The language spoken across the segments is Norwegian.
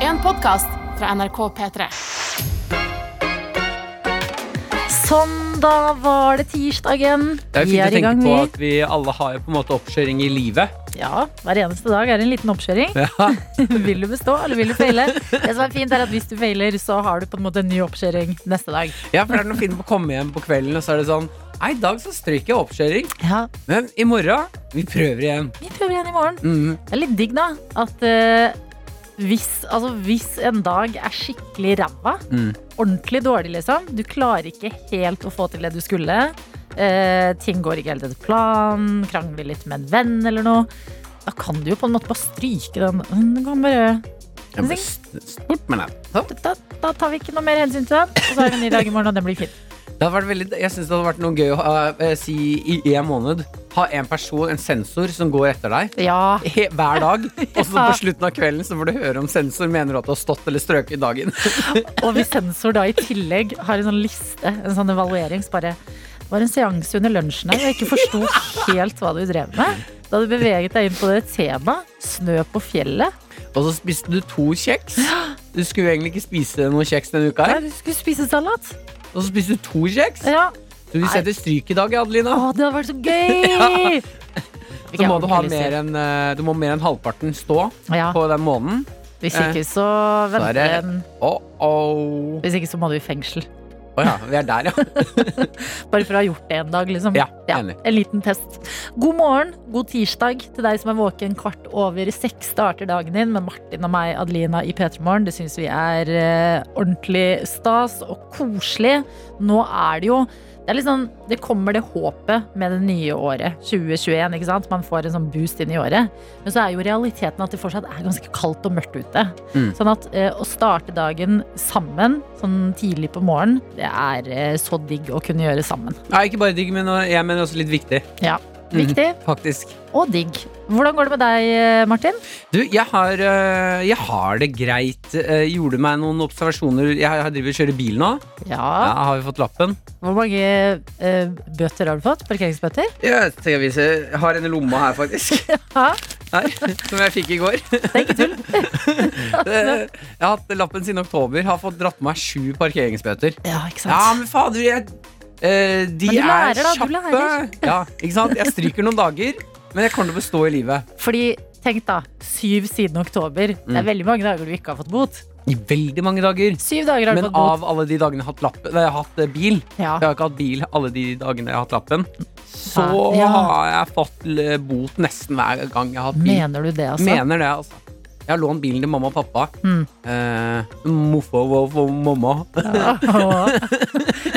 en podkast fra NRK P3. Sånn, da var det tirsdagen. Det er jo Vi fint er å i gang, tenke på vi. at vi alle har jo på en måte oppkjøring i livet. Ja, Hver eneste dag er en liten oppkjøring. Ja. Vil du bestå, eller vil du faile? Det som er fint er at Hvis du failer, så har du på en måte en ny oppkjøring neste dag. for det er noe fint med å komme hjem på kvelden, og så er det sånn Nei, i dag så stryker jeg oppkjøring, Ja, men i morgen vi prøver igjen. Vi prøver igjen i morgen. Mm. Det er litt digg, da. At eh, hvis, altså, hvis en dag er skikkelig ræva, Mm. ordentlig dårlig, liksom Du klarer ikke helt å få til det du skulle. eh, ting går ikke helt etter planen. Krangler litt med en venn eller noe. Da kan du jo på en måte bare stryke den. Du kan bare Jeg ble st- spurt med det. Sånn. da, da tar vi ikke noe mer hensyn til den, og så er det en ny dag i morgen, og den blir fin. Det hadde vært veldig, jeg syns det hadde vært noe gøy å ha, eh, si i en måned. Ha en person, en sensor, som går etter deg. Ja. He, hver dag. Og så Ja. på slutten av kvelden så får du høre om sensor mener at du har stått eller strøket i dagen. Og hvis sensor da i tillegg har en sånn liste, en sånn evaluering, så bare det var en seanse under lunsjen her, og jeg ikke forsto helt hva du drev med. Da du beveget deg inn på det temaet, snø på fjellet. Og så spiste du to kjeks. Du skulle jo egentlig ikke spise noe kjeks denne uka, Nei, her du skulle spise salat. og så spiste du to kjeks. Ja. Så vi setter stryk i dag, Adelina. Å, det hadde vært så gøy! Så må du ha Ikke mer enn eh, Du må mer enn halvparten stå Ja, på den måneden. hvis eh, ikke så Så er venter det- en Oh, oh. Hvis ikke så må du i fengsel. Å ja, vi er der, ja. Bare for å ha gjort det en dag, liksom. Ja, enig. En liten test. God morgen, god tirsdag til deg som er våken kvart over seks. Starter dagen din med Martin og meg, Adelina, i P3 Morgen. Det syns vi er eh, ordentlig stas og koselig. Nå er det jo det, er litt sånn, det kommer det håpet med det nye året, 2021. ikke sant? Man får en sånn boost inn i året. Men så er jo realiteten at det fortsatt er ganske kaldt og mørkt ute. Mm. Sånn at eh, å starte dagen sammen, sånn tidlig på morgenen, det er eh, så digg å kunne gjøre sammen. Nei, ikke bare digg, men jeg mener også litt viktig, Ja, Mhm. viktig faktisk. og digg. Hvordan går det med deg, eh, Martin? Du, jeg har, eh, jeg har det greit. Jeg gjorde meg noen observasjoner. Jeg har- Jeg driver og kjører bil nå. Ja, Ja. har vi fått lappen? Hvor mange eh, bøter har du fått? Parkeringsbøter? Jeg, tenker jeg, viser. jeg har en i lomma her, faktisk. Ja. Nei, som jeg fikk i går. Det- Jeg har hatt lappen siden oktober. Har fått dratt med meg sju parkeringsbøter. Ja, ikke sant? Ja, men fader, jeg eh, De Men du lærer, er da, du kjappe. lærer. Ja, ikke sant? Jeg stryker noen dager, men jeg kommer til å bestå i livet. Fordi, tenk da, syv siden oktober. Det Mm. er veldig mange dager du ikke har fått bot. I veldig mange dager. Syv dager har du Men fått bot. av alle de dagene jeg har hatt, lappen, nei, jeg har hatt eh, bil Ja. Jeg har ikke hatt bil alle de dagene jeg har hatt lappen. Så Ah, ja. har jeg fått eh, bot nesten hver gang jeg har hatt bil. Mener du det, altså? Mener det, altså. Jeg har lånt bilen til mamma og pappa. Mm. Eh, Moffa og og mamma. Ja.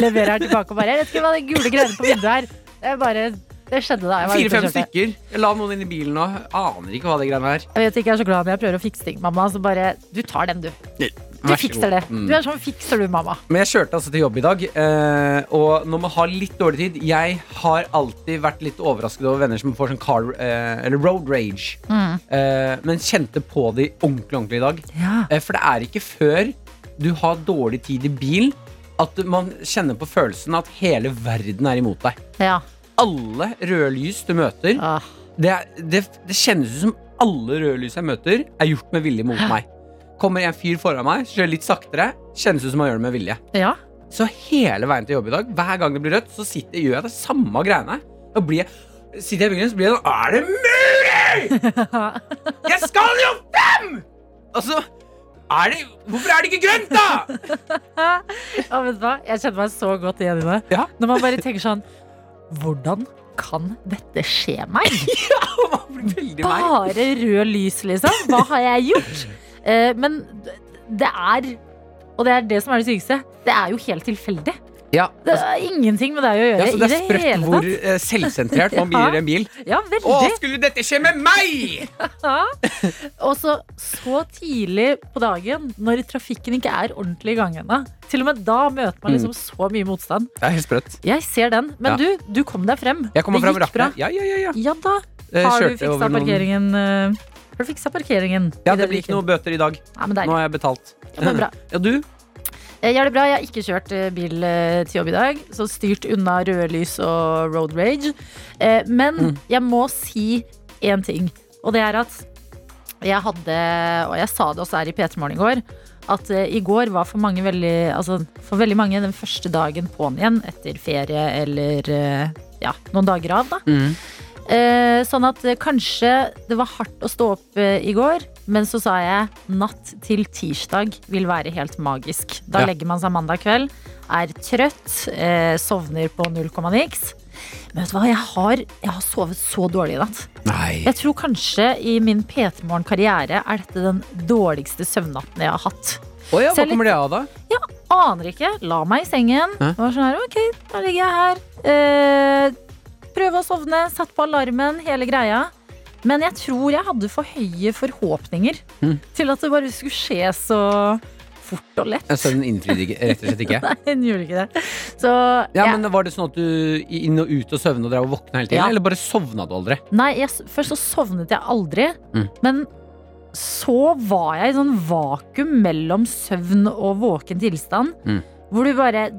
Leverer her tilbake og bare Jeg vet ikke hva det gule greiene på vinduet her. Det er bare Det skjedde da. jeg var ute og Fire-fem kjørte. stykker. Jeg la noen inn i bilen nå. Aner ikke hva det greiene er. Jeg vet ikke, jeg er så glad, men jeg prøver å fikse ting, mamma. Så bare Du tar den, du. Du Vær så god. fikser det. Mm. Du er sånn fikser du, mamma. Men jeg kjørte altså til jobb i dag, eh, og når man har litt dårlig tid Jeg har alltid vært litt overrasket over venner som får sånn car, eh, eller road rage. Eh, men kjente på det ordentlig ordentlig i dag. Ja. Eh, for det er ikke før du har dårlig tid i bil, at man kjenner på følelsen at hele verden er imot deg. ja. Alle røde lys du møter, Ah. det, er- det, det kjennes ut som alle røde lys jeg møter, er gjort med vilje mot meg. Kommer en fyr foran meg, kjører litt saktere, kjennes ut som han gjør det med vilje. Ja. Så hele veien til jobb i dag, hver gang det blir rødt, så sitter, gjør jeg det samme greiene. Da blir jeg, sitter jeg i bilen, så blir jeg sånn Er det mulig?! Jeg skal jo frem! Altså, er det, hvorfor er det ikke grønt, da?! Ja, vet du hva? Jeg kjenner meg så godt igjen i det. Ja. Når man bare tenker sånn Hvordan kan dette skje meg? Og man blir veldig lei. Bare rød lys, liksom. Hva har jeg gjort? Eh, men det er Og det er det som er det sykeste. Det er jo helt tilfeldig. Ja, Det er ingenting med deg å gjøre ja, så i det er det sprøtt hele hvor tatt. eh, selvsentrert man blir i en bil. Ja, Å, veldig. skulle dette skje med meg?! Ja. Og så så tidlig på dagen, når trafikken ikke er ordentlig i gang ennå. Til og med da møter man liksom så mye motstand. Det er helt sprøtt. Jeg ser den. Men Mm. Ja. du, du kom deg frem. Jeg kommer det fram gikk bra. rappen. Ja, ja, ja, ja. Ja da. Jeg Har du Eh, kjørte fiksa over noen- parkeringen? eh, Har du fiksa parkeringen? Ja, i du det blir gikk ikke noe inn? bøter i dag. Nei, men Nå deilig. har jeg betalt. Ja, men bra. Ja, du? Eh, Jeg har det bra. Jeg har ikke kjørt eh, bil eh, til jobb i dag, så styrt unna røde lys og road Mm. rage. Eh, Men jeg må si én ting, og det er at Jeg hadde, og jeg sa det også her i P3 Morgen i går, at eh, i går var for mange veldig altså, For veldig mange den første dagen på'n igjen etter ferie eller eh, ja, noen dager av, da. Eh, sånn at eh, kanskje det var hardt å stå opp eh, i går, men så sa jeg natt til tirsdag vil være helt magisk. Da Ja. legger man seg mandag kveld, er trøtt, eh, sovner på null komma niks. Men vet du hva, jeg har, jeg har sovet så dårlig i natt. Nei. Jeg tror kanskje i min P3morgen-karriere er dette den dårligste søvnnatten jeg har hatt. Å ja, Så hva jeg kommer det av, da? Aner ikke. La meg i sengen. Hæ? Og var sånn her, ok, da ligger jeg her. Eh, prøve å sovne. Satt på alarmen, hele greia. Men jeg tror jeg hadde for høye forhåpninger Mm. til at det bare skulle skje så fort og lett. Søvnen innfridde ikke- rett og slett ikke. Nei, den gjorde ikke det. Så Ja, jeg- men Var det sånn at du inn og ut og søvna og drev og våkna hele tiden? Ja. Eller bare sovna du aldri? Nei, jeg, s- først så sovnet jeg aldri. Mm. Men så var jeg i sånn vakuum mellom søvn og våken tilstand. Mm. Hvor du bare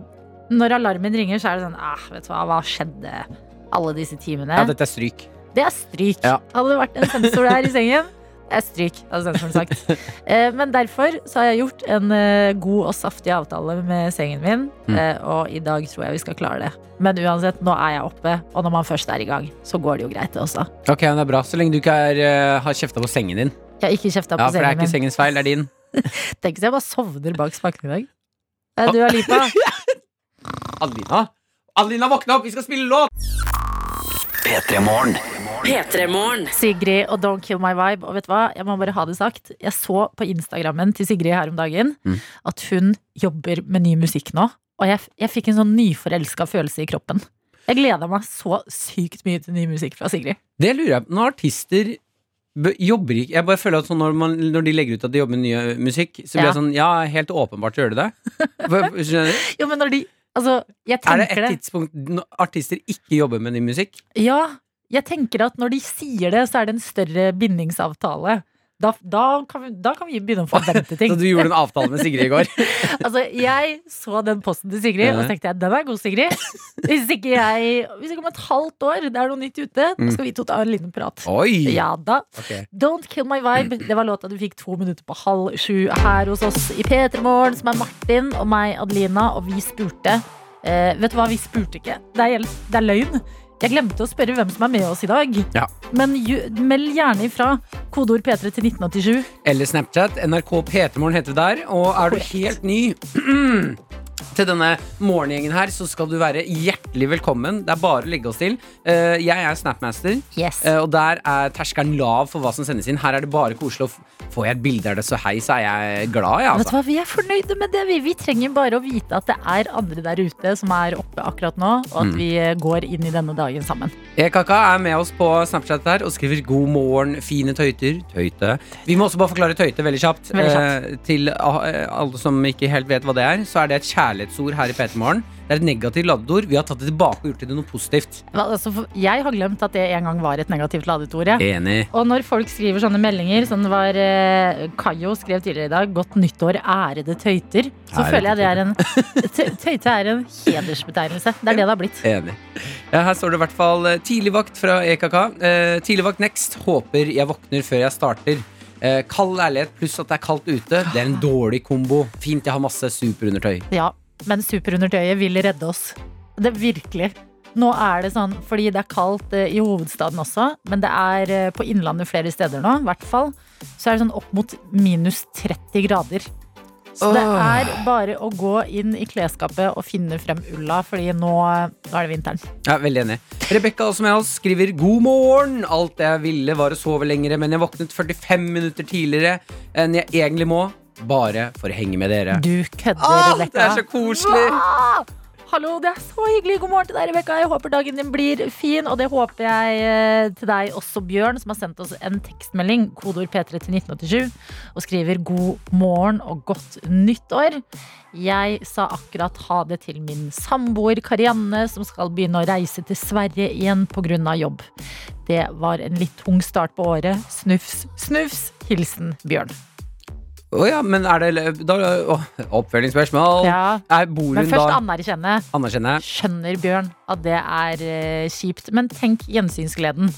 Når alarmen ringer, så er det sånn ah, Vet du hva, hva skjedde alle disse timene? Ja, det... dette er stryk. er stryk. Ja. Hadde det vært en sensor der i sengen, det er stryk, hadde sensoren sagt. Eh, Men derfor så har jeg gjort en eh, god og saftig avtale med sengen min. Mm. eh, Og i dag tror jeg vi skal klare det. Men uansett, nå er jeg oppe, og når man først er i gang, så går det jo greit, det også. Ok, men det er bra, Så lenge du ikke er, eh, har kjefta på sengen din. Jeg har ikke kjefta på Ja, For det er sengen ikke min. sengens feil, det er din. Tenk hvis jeg bare sovner bak spaken i dag. Eh, Du er lipa. Adelina, Adelina våkne opp! Vi skal spille låt! P3-morgen. Sigrid og Don't Kill My Vibe. Og vet du hva, jeg må bare ha det sagt. Jeg så på Instagrammen til Sigrid her om dagen Mm. at hun jobber med ny musikk nå. Og jeg, jeg fikk en sånn nyforelska følelse i kroppen. Jeg gleda meg så sykt mye til ny musikk fra Sigrid. Det lurer jeg på. Når artister b- jobber ikke Jeg bare føler at sånn når, man, når de legger ut at de jobber med ny eh, musikk, så blir Ja. jeg sånn Ja, helt åpenbart gjør de det. For- Skjønner du? Jo, men når de Altså, jeg Er det tenker et det. tidspunkt når artister ikke jobber med ny musikk? Ja, jeg tenker at når de sier det, så er det en større bindingsavtale. Da, da, kan, vi, da kan vi begynne å forvente ting. Så du gjorde en avtale med Sigrid i går? Altså, jeg så den posten til Sigrid, Ja. og så tenkte jeg den er god, Sigrid. Hvis ikke jeg Hvis ikke om et halvt år det er noe nytt ute, da skal vi to ta en liten prat. Mm. Oi! Ja da. Ok. Don't Kill My Vibe. Det var låta du fikk to minutter på halv sju her hos oss i P3 Morgen, som er Martin og meg, Adelina, og vi spurte eh, Vet du hva, vi spurte ikke. Det er, helt- det er løgn. Jeg glemte å spørre hvem som er med oss i dag. Ja. Men ju, meld gjerne ifra. Kodeord P3 til 1987. eller Snapchat. NRK P3morgen heter det der. Og er du Korrekt. helt ny til denne morgengjengen her, så skal du være hjertelig velkommen. Det er bare å legge oss til. Eh, Jeg er Snapmaster, Yes. eh, og der er terskelen lav for hva som sendes inn. Her er det bare koselig. og f- Får jeg et bilde av det, så hei, så er jeg glad, Vet jeg, du altså. hva, Vi er fornøyde med det. Vi, vi trenger bare å vite at det er andre der ute som er oppe akkurat nå, og Mm. at vi eh, går inn i denne dagen sammen. EKK er med oss på Snapchat der og skriver 'God morgen, fine tøyter'. Tøyte. Vi må også bare forklare tøyte veldig kjapt. Veldig kjapt. Eh, til eh, alle som ikke helt vet hva det er, så er det et kjærlighetsord her i P3morgen. Det er et negativt ladeord. Vi har tatt det tilbake og gjort det til noe positivt. Hva- Altså, for- jeg har glemt at det en gang var et negativt ladet ord. Ja. Enig. Og når folk skriver sånne meldinger, som det var eh, Kayo skrev tidligere i dag, 'Godt nyttår, ærede tøyter', så Ærede føler jeg det er en tø- Tøyte er en hedersbetegnelse. Det er det det har blitt. Enig. Ja, her står det i hvert fall eh, tidligvakt fra EKK. Eh, tidligvakt next. Håper jeg våkner før jeg starter. Eh, kald ærlighet pluss at det er kaldt ute. Det er en dårlig kombo. Fint jeg har masse superundertøy. Ja, men superundertøyet vil redde oss. Det Virkelig. Nå er det sånn, fordi det er kaldt eh, i hovedstaden også, men det er eh, på Innlandet flere steder nå, i hvert fall, så er det sånn opp mot minus 30 grader. Så det Åh. er bare å gå inn i klesskapet og finne frem ulla, fordi nå, eh, nå er det vinteren. Ja, veldig enig. Rebekka også med oss skriver god morgen. Alt jeg ville var å sove lengre, men jeg våknet 45 minutter tidligere enn jeg egentlig må. Bare for å henge med dere. Du kødder, Åh, det Rebekka. er så koselig! Ah! Hallo, det er så hyggelig. God morgen til deg, Rebekka. Jeg håper dagen din blir fin, og det håper jeg eh, til deg også, Bjørn, som har sendt oss en tekstmelding, kodeord P3 til 1987, og skriver 'God morgen og godt nyttår'. Jeg sa akkurat ha det til min samboer Karianne, som skal begynne å reise til Sverige igjen pga. jobb. Det var en litt tung start på året. Snufs, snufs. Hilsen Bjørn. Å ja, men er det da, åh, Oppfølgingsspørsmål. Ja, Er, bor men hun først da anerkjenne. Anerkjenner jeg. skjønner Bjørn at det er eh, kjipt, men tenk gjensynsgleden.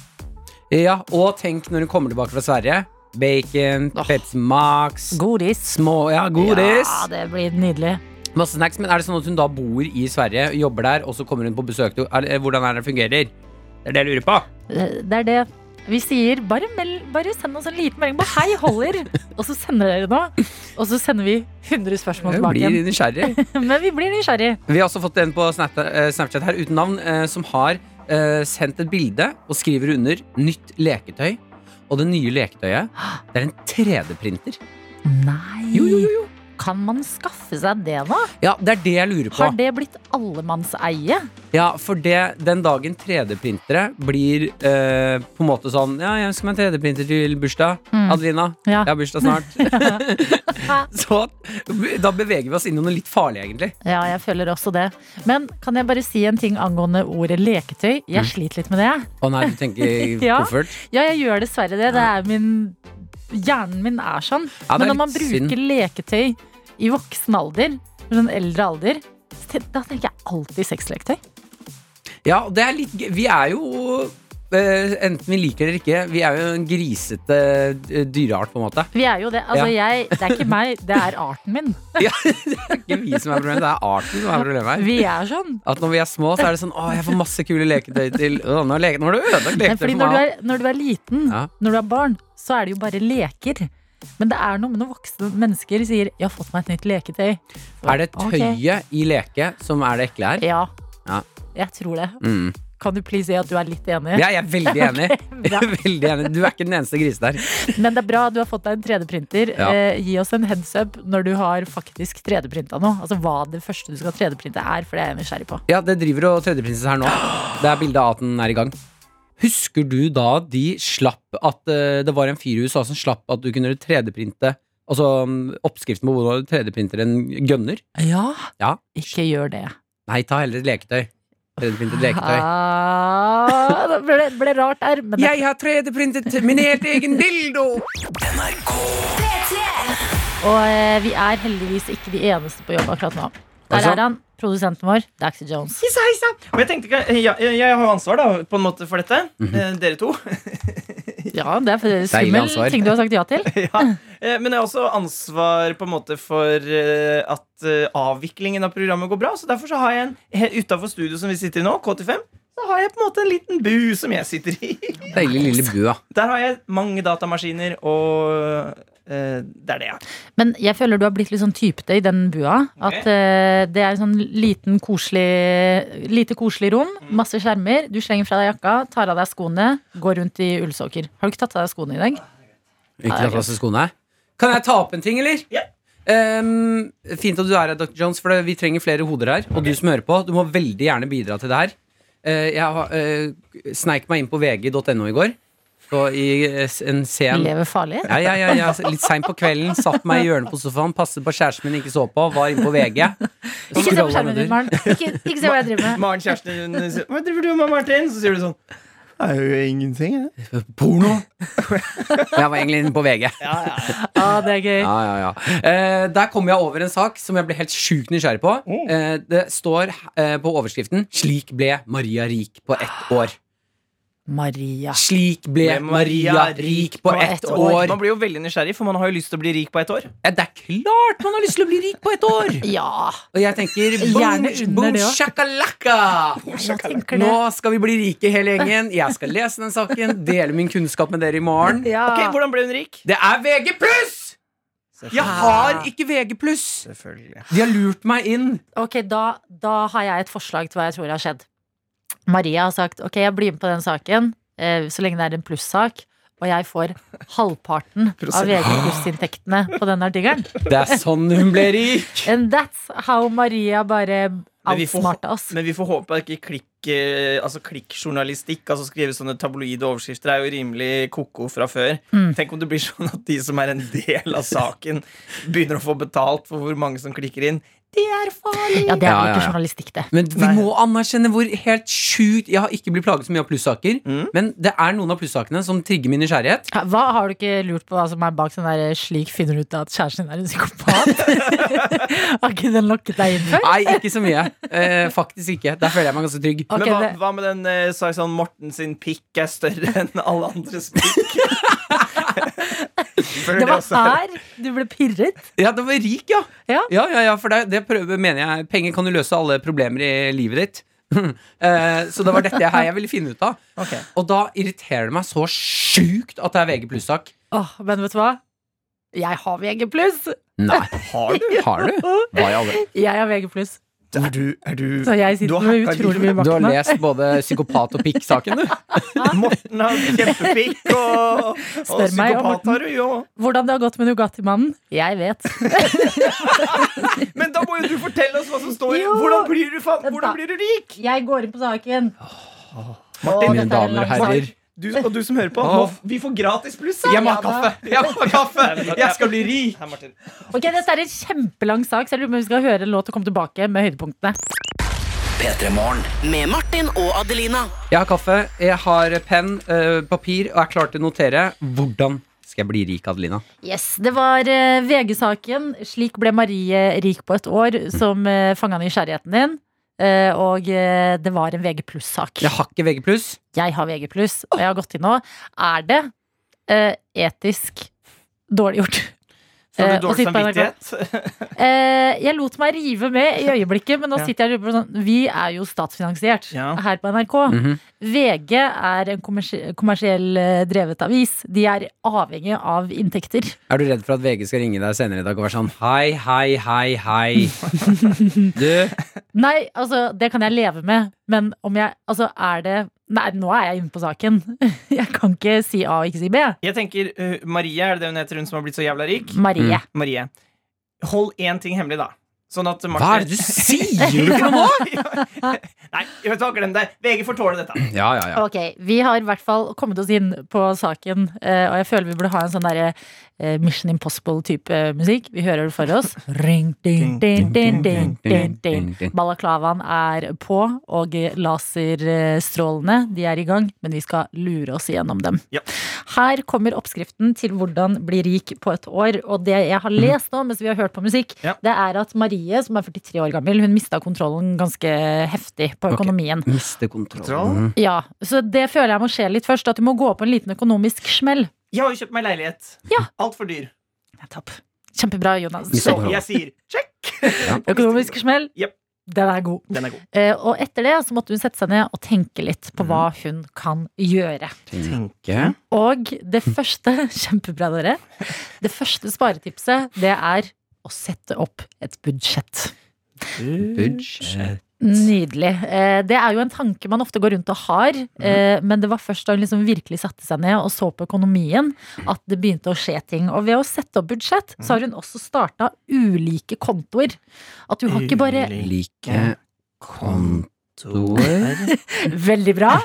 Ja, og tenk når hun kommer tilbake fra Sverige bacon, Åh. Pepsi Max, Godis. små ja, godis. Ja, det blir nydelig. Masse snacks. Men er det sånn at hun da bor i Sverige, jobber der, og så kommer hun på besøk til er, det- Hvordan er det det fungerer? Det er det jeg lurer på. Eh, Det er det vi sier. Bare, meld, bare send oss en liten melding på 'hei, holder', og så sender dere noe. Og så sender vi 100 spørsmål Jeg tilbake. blir igjen. nysgjerrig. Men vi blir nysgjerrig. Vi har også fått en på Snap- eh, Snapchat her uten navn, eh, som har eh, sendt et bilde og skriver under 'nytt leketøy'. Og det nye leketøyet, det er en 3D-printer. Nei Jo, jo, jo, jo. Kan man skaffe seg det, da? Ja, det er det jeg lurer på. Har det blitt allemannseie? Ja, for det, den dagen 3D-printere blir eh, på en måte sånn Ja, jeg ønsker meg en 3D-printer til bursdag. Mm. Adelina, Ja. jeg har bursdag snart. Så da beveger vi oss inn i noe litt farlig, egentlig. Ja, jeg føler også det. Men kan jeg bare si en ting angående ordet leketøy? Mm. Jeg sliter litt med det. jeg. Å nei, du tenker Ja. koffert? Ja, jeg gjør dessverre det. Det er min Hjernen min er sånn. Ja, det Men er når man litt bruker synd. leketøy i voksen alder, sånn eldre alder, så ten- da tenker jeg alltid sexleketøy. Ja, og det er litt gøy. Vi er jo eh, Enten vi liker det eller ikke, vi er jo en grisete eh, dyreart, på en måte. Vi er jo det. Altså, jeg, det er ikke meg, det er arten min. Ja, det er ikke vi som er problemet, det er arten som er problemet her. Vi er sånn. At når vi er små, så er det sånn Å, jeg får masse kule leketøy til Å, nå, har leke, nå har du ødelagt Men leketøy fordi for når du, meg. er, når du er liten, Ja. når du er barn, så er det jo bare leker. Men det er noe med når voksne mennesker sier 'jeg har fått meg et nytt leketøy'. Er det Ok. tøyet i leke som er det ekle her? Ja. Ja. Jeg tror det. Mm. Kan du please si at du er litt enig? Ja, jeg er veldig enig. bra. veldig enig. Du er ikke den eneste grisen der. Men det er bra du har fått deg en 3D-printer. Ja. Eh, gi oss en heads up når du har faktisk 3D-printa noe. Altså hva det første du skal 3D-printe er, for det er jeg nysgjerrig på. Ja, det driver og tredjeprinsesse her nå. Det er bildet av at den er i gang. Husker du da de slapp at eh, det var en fyr i USA som slapp at du kunne 3D-printe Altså mm, oppskriften på hvordan du 3D-printer en gønner? Ja. Ja. Ikke gjør det. Nei, ta heller et leketøy. 3D-printet leketøy. Ah, det ble, ble rart der, men det, Jeg har 3D-printet min helt egen dildo! og eh, vi er heldigvis ikke de eneste på jobb akkurat nå. Der Altså? er han, produsenten vår, Daxy Jones. Hissa, hissa. Og jeg tenkte ikke, eh, ja, jeg, jeg har jo ansvar da, på en måte for dette. eh, dere to. Ja, det er Deilig skummel ansvar. ting du har sagt ja til. ja. Eh, Men jeg har også ansvar på en måte for eh, at eh, avviklingen av programmet går bra. Så derfor så har jeg en he- utenfor studio som vi sitter i nå, K85, så har jeg på en måte en liten bu som jeg sitter i. Deilig lille bua. Der har jeg mange datamaskiner, og eh, det er det jeg har. Men jeg føler du har blitt litt sånn typete i den bua. Ok. At eh, det er en sånn liten, koselig, lite koselig rom, masse skjermer. Du slenger fra deg jakka, tar av deg skoene, går rundt i ullsokker. Har du ikke tatt av deg skoene i dag? Ikke tatt av seg skoene. Kan jeg ta opp en ting, eller? Ja. Ehm, fint at du er her, Dr. Jones, for det- vi trenger flere hoder her. Og du som hører på, du må veldig gjerne bidra til det her. Eh, jeg har, eh, sneik meg inn på vg.no i går. Så i eh, s- en sen Lever farlig. ja, ja, ja, ja. Litt seint på kvelden. Satt meg i hjørnet på sofaen, passet på kjæresten min, ikke så på. Var inne på VG. Ikke se på Scrollet skjermen din, nedover. Maren. Ikke, ikke se hva jeg driver med. Maren kjæresten hun sier 'Hva driver du med, Martin?' Så sier du sånn Det er jo ingenting, jeg. Porno! Jeg var egentlig inne på VG. Ja, ja, ja. Ja, det er gøy. Ja, ja, ja. Eh, der kom jeg over en sak som jeg ble helt sjukt nysgjerrig på. Mm. Eh, det står eh, på overskriften 'Slik ble Maria rik på ett år'. Maria. Slik ble Maria rik på ett år. Man blir jo veldig nysgjerrig, for man har jo lyst til å bli rik på ett år. Ja, det er klart man har lyst til å bli rik på ett år! Ja, Og jeg tenker boom, Gjerne under boom det også. shakalaka! jeg tenker det. Nå skal vi bli rike hele gjengen. Jeg skal lese den saken, dele min kunnskap med dere i morgen. Ja. Ok, Hvordan ble hun rik? Det er VG pluss! Jeg har ikke VG pluss! Selvfølgelig. De har lurt meg inn. Ok, da, da har jeg et forslag til hva jeg tror har skjedd. Maria har sagt ok, jeg blir med på den saken eh, så lenge det er en plussak. Og jeg får halvparten av Prosent. VG plussinntektene på den artikkelen. Det er sånn hun ble rik. And that's how Maria bare Men vi får- outsmarta oss. Men vi får håpe at ikke klikk, eh, altså klikkjournalistikk, altså skrive sånne tabloide overskrifter, er jo rimelig ko-ko fra før. Mm. Tenk om det blir sånn at de som er en del av saken, begynner å få betalt for hvor mange som klikker inn. Det er farlig! Ja, det er vel Ja, ja, ikke ja. journalistikk, det. Men vi Nei. må anerkjenne hvor helt sjukt Jeg har ikke blitt plaget så mye av plussaker, Mm. men det er noen av plussakene som trigger min nysgjerrighet. Ja, Hva har du ikke lurt på hva som er bak den der eh, 'slik finner du ut at kjæresten din er en psykopat'? har ikke den lokket deg inn før? Nei, ikke så mye. Eh, faktisk ikke. Der føler jeg meg ganske trygg. Ok, Men hva, det- hva med den eh, sa jeg sånn Morten sin pikk er større enn alle andres pikk? Føler Det var også er- her du ble pirret. Ja, det var rik, ja. Ja. ja, ja, ja, for det, det prøver, mener jeg. Penger kan jo løse alle problemer i livet ditt. Eh, så det var dette her jeg ville finne ut av. Ok. Og da irriterer det meg så sjukt at det er VG pluss-sak. Åh, men vet du hva? Jeg har VG+. Nei, Har du? har du? Hva i alle Jeg har VG+. Er du, er du Så jeg sitter Du har med hacka utrolig mye livet. makt Du har nå. lest både Psykopat og pikk-saken, du. Morten har kjempepikk, og, og Spør meg, ja, psykopat Morten. har du jo. Hvordan det har gått med Nugatti-mannen? Jeg vet. Men da må jo du fortelle oss hva som står i Jo. Hvordan blir du, fa Da- hvordan blir du rik? Jeg går inn på saken. Martin, Dette er Mine damer og lang herrer. du, og du som hører på, Åh. må- vi får gratis pluss. Jeg må ha kaffe! Jeg må ha kaffe! Jeg skal bli rik! Her, Martin. Ok, Dette er en kjempelang sak, så jeg lurer på om vi skal høre en låt og komme tilbake med høydepunktene. Med Martin og Adelina. Jeg har kaffe, jeg har penn, eh, papir og er klar til å notere. Hvordan skal jeg bli rik, Adelina? Yes, Det var eh, VG-saken 'Slik ble Marie rik på et år' som uh, fanga nysgjerrigheten din. Eh, og eh, det var en VG pluss-sak. Jeg har ikke VG pluss. Jeg har VG pluss, og jeg har gått inn nå. Er det eh, etisk dårlig gjort? Får Eh, du og dårlig sitte på NRK. samvittighet? Eh, jeg lot meg rive med i øyeblikket, men nå Ja. sitter jeg og lurer på sånn Vi er jo statsfinansiert Ja. her på NRK. Mhm. VG er en kommersie- kommersiell eh, drevet avis. De er avhengig av inntekter. Er du redd for at VG skal ringe deg senere i dag og være sånn hei, hei, hei, hei? Du, Nei, altså, det kan jeg leve med, men om jeg Altså, er det Nei, nå er jeg inne på saken. Jeg kan ikke si A og ikke si B. Jeg tenker eh, Marie, er det det hun heter, hun som har blitt så jævla rik? Marie. Marie, hold én ting hemmelig, da. Sånn at Martin hva er det du sier? ikke noe nå? Nei, vet du hva, glem det. VG får tåle dette. Ja, ja, ja. Ok, vi har i hvert fall kommet oss inn på saken, eh, og jeg føler vi burde ha en sånn derre eh, Mission Impossible-type musikk. Vi hører det for oss. Ring, ding, ding, ding, ding, ding, ding. Balaklavaen er på, og laserstrålene eh, de er i gang, men vi skal lure oss gjennom dem. Ja. Her kommer oppskriften til hvordan bli rik på et år. Og det jeg har lest nå mens vi har hørt på musikk, Ja. det er at Marie, som er 43 år gammel, hun mista kontrollen ganske heftig på Ok. økonomien. Miste kontrollen. Ja, så det føler jeg må skje litt først. At du må gå på en liten økonomisk smell. Jeg har jo kjøpt meg leilighet. Ja. Altfor dyr. Kjempebra, Jonas. Mista Så Så, kontrollen. jeg sier check! økonomisk smell, Jep. den er god. Den er god. Eh, og etter det så måtte hun sette seg ned og tenke litt på hva hun kan gjøre. Tenke. Og det første, kjempebra dere, det første sparetipset det er å sette opp et budsjett. Eh. Budsjett. Nydelig. Eh, Det er jo en tanke man ofte går rundt og har, Mhm. eh, men det var først da hun liksom virkelig satte seg ned og så på økonomien, at det begynte å skje ting. Og ved å sette opp budsjett, så har hun også starta ulike kontoer. At du har ikke bare Like kontoer. Veldig bra!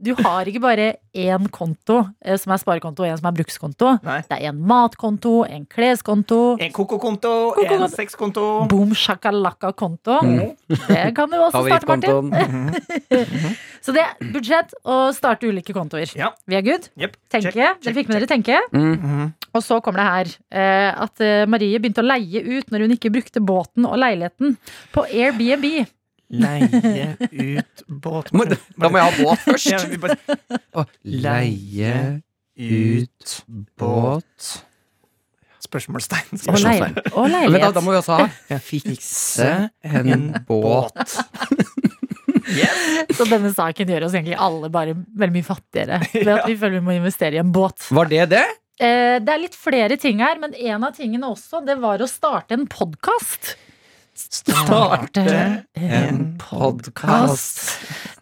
Du har ikke bare én konto eh, som er sparekonto, og én som er brukskonto. Nei. Det er en matkonto, en kleskonto. En kokokonto, Koko- en Mm. sexkonto. Boom shakalaka-konto. Det kan du også starte, Martin. Favorittkontoen. Så det er budsjett og starte ulike kontoer. Ja. Vi er good? Yep. Tenke. dere fikk med dere tenke. Mm. Mhm. Og så kommer det her eh, at eh, Marie begynte å leie ut når hun ikke brukte båten og leiligheten på Airbnb. Leie ut båt Må- Da må jeg ha båt Ja, først. vi bare- Å, Leie ut båt Spørsmålstegn. Og, leil Spørsmålstegn. og Men da, leilighet. da må vi også ha fikse en båt. Så denne saken gjør oss egentlig alle bare veldig mye fattigere. Ved at vi føler vi må investere i en båt. Var det det? Eh, det er litt flere ting her, men en av tingene også, det var å starte en podkast. Starte en podkast.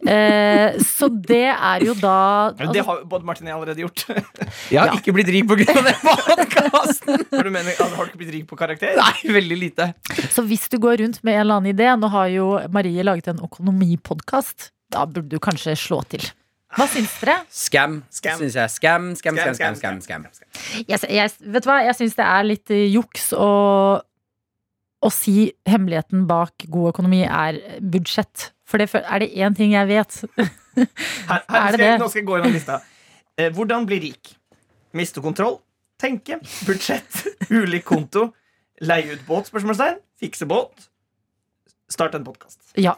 Eh, så det er jo da Ja, Det har jo både Martin og jeg allerede gjort. Jeg har ikke blitt rik pga. den podkasten! For du mener, altså, har du ikke blitt rik på karakter? Nei, veldig lite. Så hvis du går rundt med en eller annen idé Nå har jo Marie laget en økonomipodkast. Da burde du kanskje slå til. Hva syns dere? Scam, Scam. syns jeg. Scam, scam, Scam, scam, scam, scam. scam, scam. Jeg, jeg, vet du hva? jeg syns det er litt eh, juks å, å si hemmeligheten bak god økonomi er budsjett. For det fø- er det én ting jeg vet. Her, her Er det skal jeg, det? nå skal jeg gå gjennom lista. Eh, hvordan bli rik? Miste kontroll? Tenke? Budsjett? Ulik konto? Leie ut båt? Spørsmålstegn? Fikse båt? Start en podkast. Ja.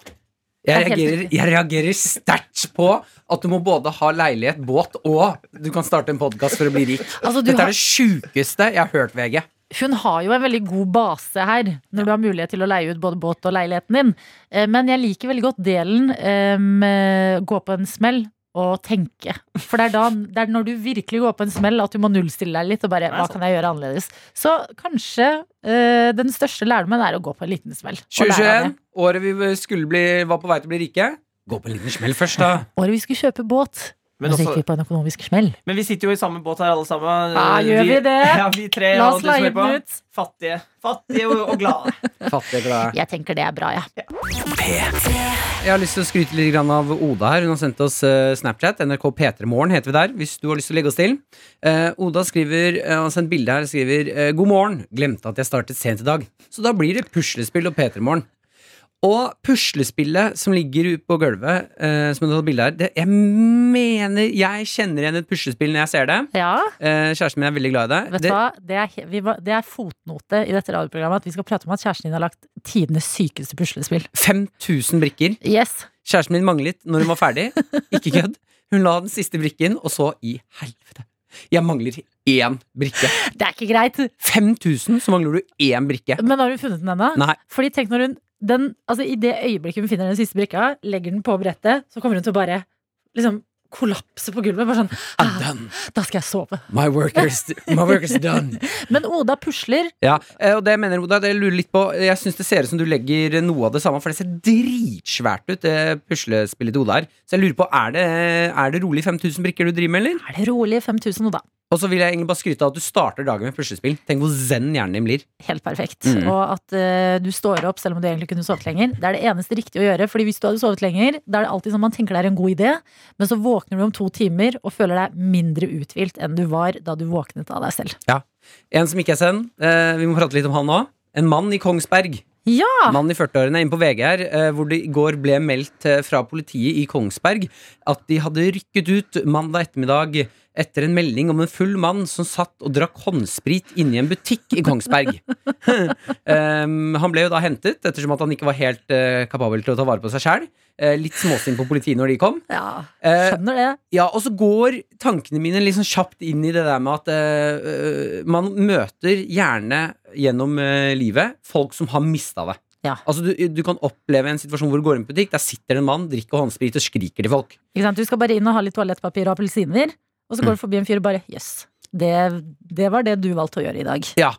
Jeg Det er helt reagerer, riktig. jeg reagerer sterkt på at du må både ha leilighet, båt og du kan starte en podkast for å bli rik. Altså, du Dette har- er det sjukeste jeg har hørt, VG. Hun har jo en veldig god base her, når du har mulighet til å leie ut både båt og leiligheten din. Eh, Men jeg liker veldig godt delen em, eh, gå på en smell og tenke. For det er, da, det er når du virkelig går på en smell at du må nullstille deg litt og bare Nei, hva sant. kan jeg gjøre annerledes. Så kanskje eh, den største lærdommen er å gå på en liten smell. og lære av 2021, det. året vi skulle bli, var på vei til å bli rike. Gå på en liten smell først, da. Året vi skulle kjøpe båt, Men og så også- gikk vi på en økonomisk smell. Men vi sitter jo i samme båt her, alle sammen. Ja, Eh, gjør vi det? Ja, vi tre La og oss du som leie hører på. den ut. Fattige. Fattige og, og glade. Fattige, glade. Jeg tenker det er bra, jeg. Ja. Jeg har lyst til å skryte litt grann av Oda her. Hun har sendt oss eh, Snapchat. NRK P3morgen heter vi der, hvis du har lyst til å legge oss til. Eh, Oda skriver, eh, har sendt bilde her og skriver eh, God morgen. Glemte at jeg startet sent i dag. Så da blir det puslespill og P3morgen. Og puslespillet som ligger ute på gulvet, eh, som du har bilde her det, Jeg mener jeg kjenner igjen et puslespill når jeg ser det. Eh, kjæresten min er veldig glad i det. Vet du det hva? Det er, he- vi, var- det er fotnote i dette radioprogrammet at vi skal prate om at kjæresten din har lagt tidenes sykeste puslespill. 5000 brikker. Yes. Kjæresten min manglet når hun var ferdig. Ikke kødd. Hun la den siste brikken, og så i helvete. Jeg mangler én brikke. Det er ikke greit. 5000, så mangler du én brikke. Men har hun funnet den ennå? Nei. Fordi tenk når hun den, altså I det øyeblikket hun finner den siste brikka, legger den på brettet, så kommer hun til å bare liksom kollapse på gulvet. Bare sånn I'm ah, done. Da skal jeg sove. My work is, my work is done. Men Oda pusler. Ja, eh, og det mener Oda, det jeg lurer litt på. Jeg syns det ser ut som du legger noe av det samme, for det ser dritsvært ut, det puslespillet til Oda her. Så jeg lurer på, er det, er det rolig 5000 brikker du driver med, eller? Er det rolig? 5000, Oda. Og så vil jeg egentlig bare skryte av at du starter dagen med puslespill. Tenk hvor zen hjernen din blir. Helt perfekt. Mm. Og at eh, du står opp selv om du egentlig kunne sovet lenger. Det er det eneste riktige å gjøre. Fordi hvis du hadde sovet lenger, da er det alltid sånn man tenker det er en god idé, men så våkner du om to timer og føler deg mindre uthvilt enn du var da du våknet av deg selv. En som ikke er zen, eh, vi må prate litt om han òg. En mann i Kongsberg. Ja! Mann i 40-årene inne på VG her, eh, hvor det i går ble meldt eh, fra politiet i Kongsberg at de hadde rykket ut mandag ettermiddag etter en melding om en full mann som satt og drakk håndsprit inne i en butikk i Kongsberg. um, han ble jo da hentet, ettersom at han ikke var helt eh, kapabel til å ta vare på seg sjæl. Eh, litt småsint på politiet når de kom. ja. Eh, Skjønner det. ja, og så går tankene mine litt sånn kjapt inn i det der med at eh, eh, man møter gjerne gjennom eh, livet folk som har mista det. Ja. Altså, du, du kan oppleve en situasjon hvor du går inn i en butikk, der sitter en mann, drikker håndsprit og skriker til folk. Ikke sant? Du skal bare inn og ha litt toalettpapir og appelsiner, og så går du forbi en fyr og bare jøss. Det, det var det du valgte å gjøre i dag. Ja,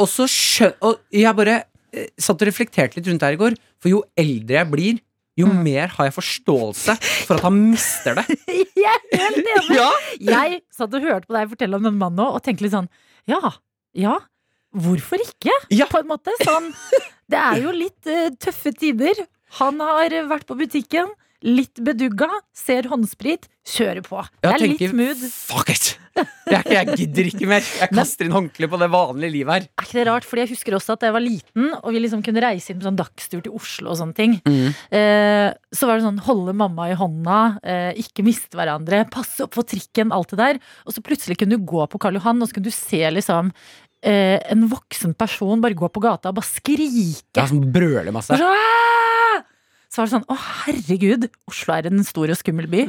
og så skjøn... Og jeg bare eh, satt og reflekterte litt rundt det her i går, for jo eldre jeg blir, jo Mm. mer har jeg forståelse for at han mister det. Jeg er helt enig! ja! Jeg satt og hørte på deg fortelle om den mannen nå, og tenkte litt sånn ja, ja, hvorfor ikke? Ja. På en måte. Sånn, det er jo litt eh, tøffe tider. Han har eh, vært på butikken, litt bedugga, ser håndsprit, kjører på. Det er Jeg litt tenker, mood. Fuck it! Det er ikke, jeg gidder ikke mer. Jeg kaster inn håndkleet på det vanlige livet her. Er ikke det rart? Fordi jeg husker også at da jeg var liten, og vi liksom kunne reise inn på sånn dagstur til Oslo og sånne ting. Eh, så var det sånn holde mamma i hånda, eh, ikke miste hverandre, passe opp for trikken, alt det der. Og så plutselig kunne du gå på Karl Johan, og så kunne du se liksom eh, en voksen person bare gå på gata og bare skrike. Ja, som brøler masse. Bare sånn, «Aah!» så var det sånn å herregud, Oslo er en stor og skummel by.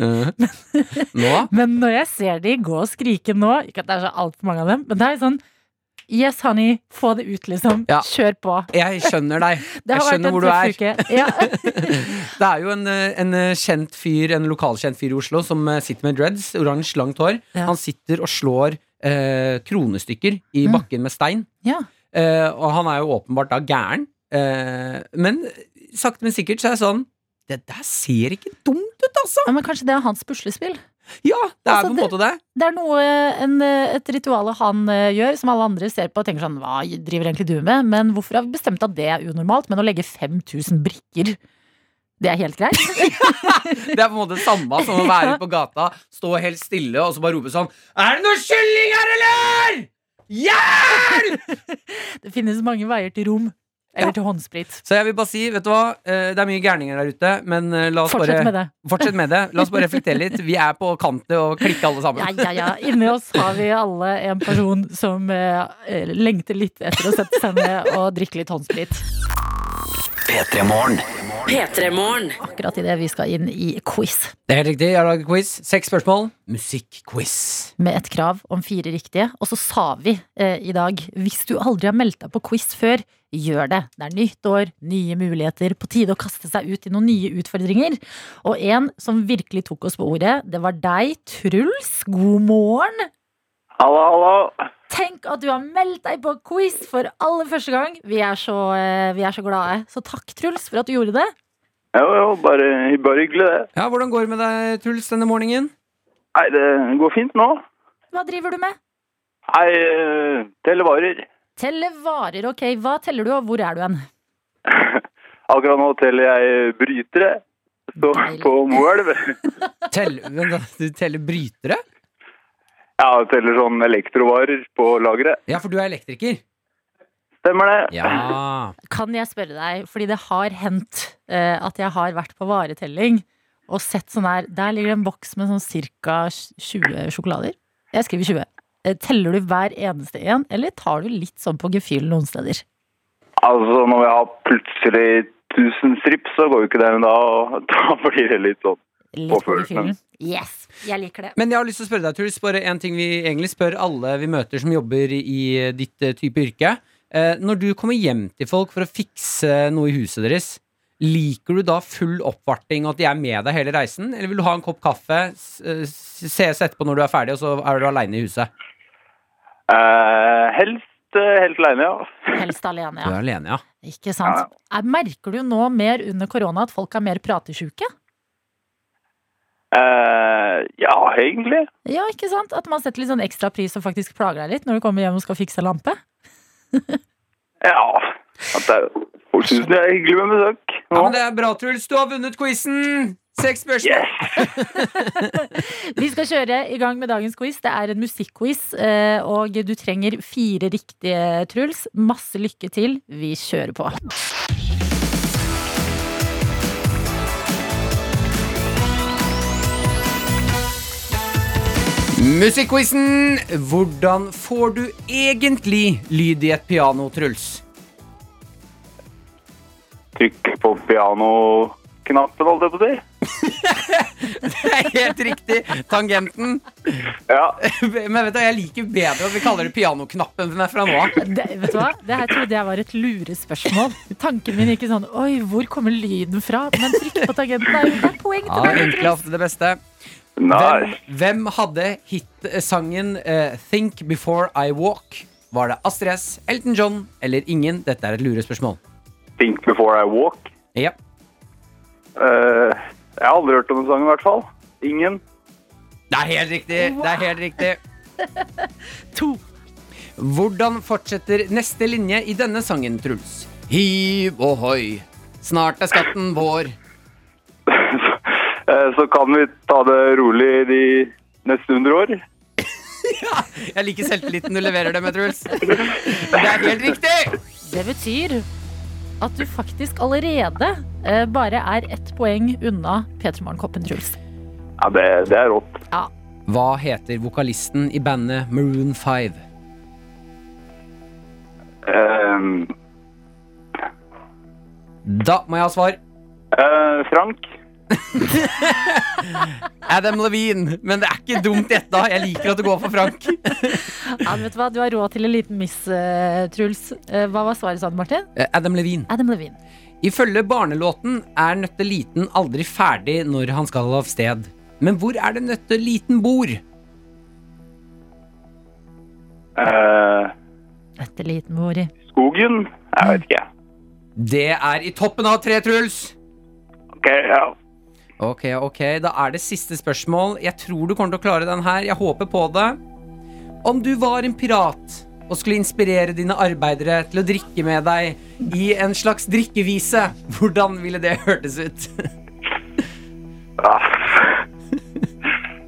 Nå? Men når jeg ser de gå og skrike nå, ikke at det er så altfor mange av dem, men det er sånn Yes, honey, få det ut, liksom. Ja. Kjør på. Jeg skjønner deg. Det Jeg har vært skjønner en hvor du tøff er. uke. Ja. Det er jo en, eh, en eh, kjent fyr, en lokalkjent fyr i Oslo som eh, sitter med dreads, oransje, langt hår. Ja. Han sitter og slår eh, kronestykker i Mm. bakken med stein. Ja. Eh, og han er jo åpenbart da gæren. Eh, men sakte, men sikkert så er jeg sånn Det der ser ikke dumt ut, altså! Ja, men kanskje det er hans puslespill? Ja, det er Altså, på en det- måte det. Det er noe, en, et ritual han eh, gjør, som alle andre ser på og tenker sånn Hva driver egentlig du med? Men hvorfor har vi bestemt at det er unormalt? Men å legge 5000 brikker, det er helt greit? Det er på en måte det samme som å være ute på gata, stå helt stille og så bare rope sånn Er det noe kylling her, eller?! Hjelp! Det finnes mange veier til rom. Eller til håndsprit. Så jeg vil bare si, vet du hva, eh, det er mye gærninger der ute, men eh, la oss Fortsett bare med det. Fortsett med det. La oss bare reflektere litt. Vi er på kantet og klikke alle sammen. Ja, ja, ja. Inni oss har vi alle en person som eh, eh, lengter litt etter å sette seg ned og drikke litt håndsprit. P3 Morgen. P3-morgen. akkurat idet vi skal inn i quiz. Det er helt riktig. Jeg har laget quiz. Seks spørsmål. Musikkquiz. med et krav om fire riktige. Og så sa vi eh, i dag hvis du aldri har meldt deg på quiz før, gjør det. Det er nytt år, nye muligheter, på tide å kaste seg ut i noen nye utfordringer. Og en som virkelig tok oss på ordet, det var deg, Truls. God morgen! Hallo, hallo. Tenk at du har meldt deg på quiz for aller første gang. Vi er så, eh, vi er så glade. Så takk, Truls, for at du gjorde det. Jo, jo, bare, bare hyggelig det. Ja, Hvordan går det med deg, Truls, denne morgenen? Nei, det går fint nå. Hva driver du med? Nei, eh, televarer. Telle varer, ok. Hva teller du, og hvor er du hen? Akkurat nå teller jeg brytere. Så Deilig. på Moelv. Tell, vent da, du teller brytere? Ja, jeg teller sånn elektrovarer på lageret. Ja, for du er elektriker. Stemmer det? Ja. Kan jeg spørre deg, fordi det har hendt eh, at jeg har vært på varetelling og sett sånn her Der ligger det en boks med sånn ca. 20 sjokolader. Jeg skriver 20. Eh, teller du hver eneste en, eller tar du litt sånn på gefühlen noen steder? Altså, når jeg har plutselig 1000 strips, så går jo ikke det, men da, da blir det litt sånn. Litt på Påfølt, gefühlen. Yes, jeg liker det. Men jeg har lyst til å spørre deg, Truls, bare en ting vi egentlig spør alle vi møter som jobber i eh, ditt eh, type yrke. Eh, Når du kommer hjem til folk for å fikse noe i huset deres, liker du da full oppvarting og at de er med deg hele reisen? Eller vil du ha en kopp kaffe, s- eh, s- ses etterpå når du er ferdig, og så er du aleine i huset? Eh, helst eh, helt alene, ja. Helst alene, Du ja. er alene, ja. Ikke sant? Eh, Merker du nå mer under korona at folk er mer pratesjuke? Eh, ja, egentlig. Ja, ikke sant? At man setter litt sånn ekstra pris og faktisk plager deg litt når du kommer hjem og skal fikse lampe? Ja. At det er, folk synes det er hyggelig med besøk. Altså- ja. Men det er bra, Truls. Du har vunnet quizen! Seks spørsmål. Yes! Vi skal kjøre i gang med dagens quiz. Det er en musikkquiz, eh, og du trenger fire riktige, Truls. Masse lykke til. Vi kjører på. Musikkquizen! Hvordan får du egentlig lyd i et piano, Truls? trykke på pianoknappen, holdt jeg på å si. Det er helt riktig. Tangenten. Ja. Men vet du, jeg liker bedre at vi kaller det pianoknappen men fra nå av. Det, vet du hva? Det her trodde jeg var et lurespørsmål. Tanken min gikk i sånn Oi, hvor kommer lyden fra? Men trykk på tangenten er jo det er poeng til Ja, deg. enkle er ofte det beste. Hvem, Nice. hvem hadde hitsangen eh, 'Think Before I Walk'? Var det Astrid S, Elton John eller ingen? Dette er et lurespørsmål. Think before I walk. Ja. Eh, jeg har aldri hørt om den sangen, i hvert fall. Ingen. Det er helt riktig. Det er helt riktig. To. Hvordan fortsetter neste linje i denne sangen, Truls? Hiv og hoi, snart er skatten vår. Eh, så kan vi ta det rolig de neste hundre år. Jeg liker selvtilliten du leverer det med, Truls. Det er helt riktig! Det betyr at du faktisk allerede eh, bare er ett poeng unna P3 Morgen-koppen, Truls. Ja, det, det er rått. Hva heter vokalisten i bandet Maroon 5? Eh, Da må jeg ha svar. eh, Frank. Adam Levine. Men det er ikke dumt gjetta. Jeg liker at du går for Frank. Ja, men vet Du hva? Du har råd til en liten miss, eh, Truls. Eh, Hva var svaret, sa du, Martin? Eh, Adam Levine. Adam Levine. Ifølge barnelåten er Nøtteliten aldri ferdig når han skal av sted. Men hvor er det Nøtteliten bor? Eh, Dette liten mori. skogen. Jeg vet ikke. Det er i toppen av tre, Truls. Ok, ja. Ok, ok, da er det siste spørsmål. Jeg tror du kommer til å klare den her. Jeg håper på det. Om du var en pirat og skulle inspirere dine arbeidere til å drikke med deg i en slags drikkevise, hvordan ville det hørtes ut? Ah.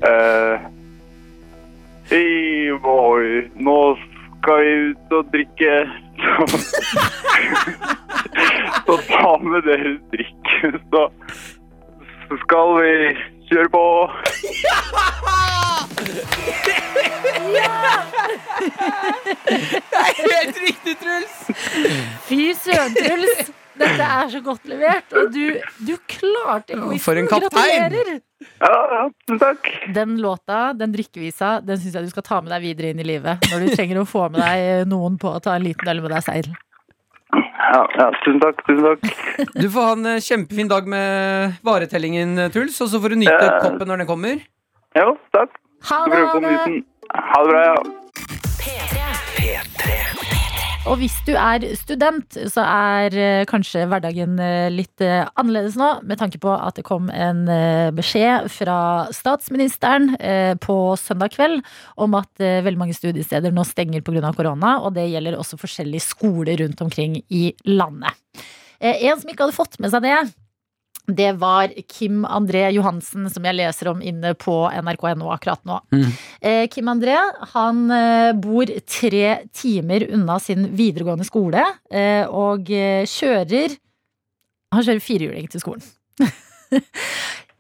Eh, Hei, boy. Nå skal vi ut og drikke. Så ta med dere drikken, så så skal vi kjøre på. Helt riktig, Truls! Fy søren, Truls! Dette er så godt levert, og du, du klarte quizen. for en kaptein. Gratulerer! Ja, ja, tusen takk. Den låta, den drikkevisa, den syns jeg du skal ta med deg videre inn i livet. Når du trenger å få med deg eh, noen på å ta en liten øl med deg selv. Ja, ja, tusen takk, tusen takk. Du får ha en eh, kjempefin dag med varetellingen, eh, Truls, og så får du nyte Ja. koppen når den kommer. Jo, takk. Ha Skal det! prøve Ha sånn å det. komme uten. Ha det bra, ja. Og hvis du er student, så er eh, kanskje hverdagen eh, litt eh, annerledes nå, med tanke på at det kom en eh, beskjed fra statsministeren eh, på søndag kveld om at eh, veldig mange studiesteder nå stenger pga. korona, og det gjelder også forskjellige skoler rundt omkring i landet. Eh, En som ikke hadde fått med seg det, det var Kim André Johansen, som jeg leser om inne på nrk.no akkurat nå. Eh, Kim André han eh, bor tre timer unna sin videregående skole eh, og eh, kjører Han kjører firehjuling til skolen.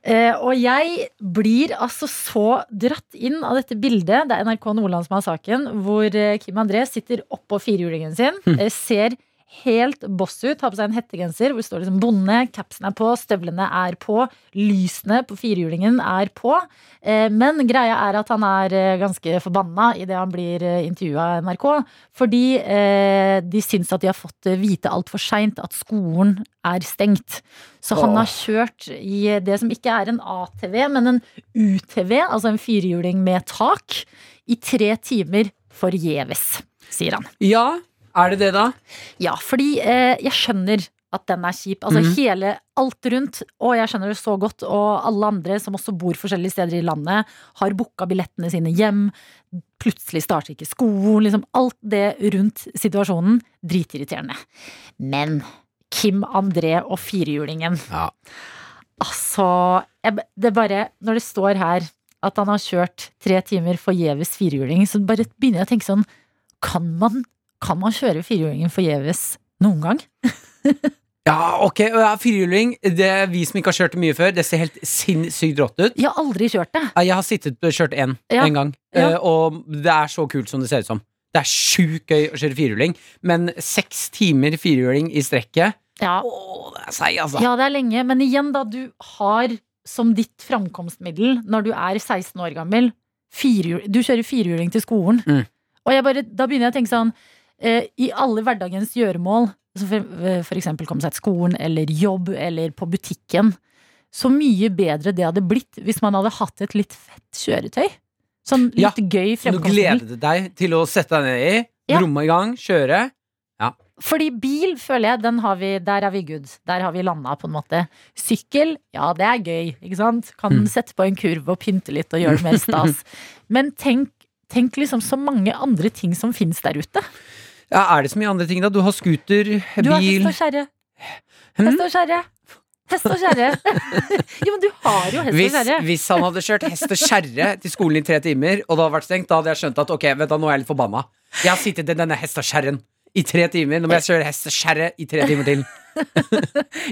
Eh, og jeg blir altså så dratt inn av dette bildet. Det er NRK Nordland som har saken, hvor eh, Kim André sitter oppå firehjulingen sin. eh, Ser helt boss ut. Har på seg en hettegenser hvor det står liksom 'bonde', capsen er på, støvlene er på, lysene på firehjulingen er på. Eh, Men greia er at han er eh, ganske forbanna idet han blir intervjua av NRK. Fordi eh, de syns at de har fått eh, vite altfor seint at skolen er stengt. Så han Åh. har kjørt i eh, det som ikke er en ATV, men en UTV, altså en firehjuling med tak, i tre timer forgjeves, sier han. Ja, er det det, da? Ja, fordi eh, jeg skjønner at den er kjip. Altså Mhm. hele, alt rundt. Og jeg skjønner det så godt. Og alle andre som også bor forskjellige steder i landet, har booka billettene sine hjem. Plutselig starter ikke skolen. Liksom alt det rundt situasjonen. Dritirriterende. Men Kim André og firehjulingen. Ja. Altså jeg, b- Det er bare Når det står her at han har kjørt tre timer forgjeves firehjuling, så bare begynner jeg å tenke sånn Kan man, kan man kjøre firehjulingen forgjeves noen gang? Ja, ok, og ja, firehjuling, det er vi som ikke har kjørt det mye før, det ser helt sinnssykt rått ut. Jeg har aldri kjørt det. Ja, Jeg har sittet eh, kjørt én Ja. en gang, Ja. eh, og det er så kult som det ser ut som. Det er sjukt gøy å kjøre firehjuling, men seks timer firehjuling i strekket Ja. Å, det er seig, altså. Ja, det er lenge, men igjen da, du har som ditt framkomstmiddel når du er 16 år gammel, firehjul- du kjører firehjuling til skolen. Mm. Og jeg bare, da begynner jeg å tenke sånn, eh, i alle hverdagens gjøremål, som for, eh, for eksempel komme seg til skolen, eller jobb, eller på butikken, så mye bedre det hadde blitt hvis man hadde hatt et litt fett kjøretøy. Sånn litt Ja, gøy Nå fremkomstmiddel. gleder du deg til å sette deg ned i, Ja. gromme i gang, kjøre. Fordi bil, føler jeg, den har vi, der er vi good. Der har vi landa, på en måte. Sykkel, ja, det er gøy, ikke sant? Kan Mm. sette på en kurv og pynte litt og gjøre det mer stas. Men tenk, tenk liksom så mange andre ting som fins der ute. Ja, Er det så mye andre ting, da? Du har scooter, Du har hest bil og kjerre. Hm? Hest og kjerre. Hest og kjerre. jo, men du har jo hest hvis, og kjerre. hvis han hadde kjørt hest og kjerre til skolen i tre timer, og det hadde vært stengt, da hadde jeg skjønt at ok, vet du, nå er jeg litt forbanna. Jeg har sittet i denne hest og kjerren i tre timer. Nå må jeg kjøre hest og kjerre i tre timer til.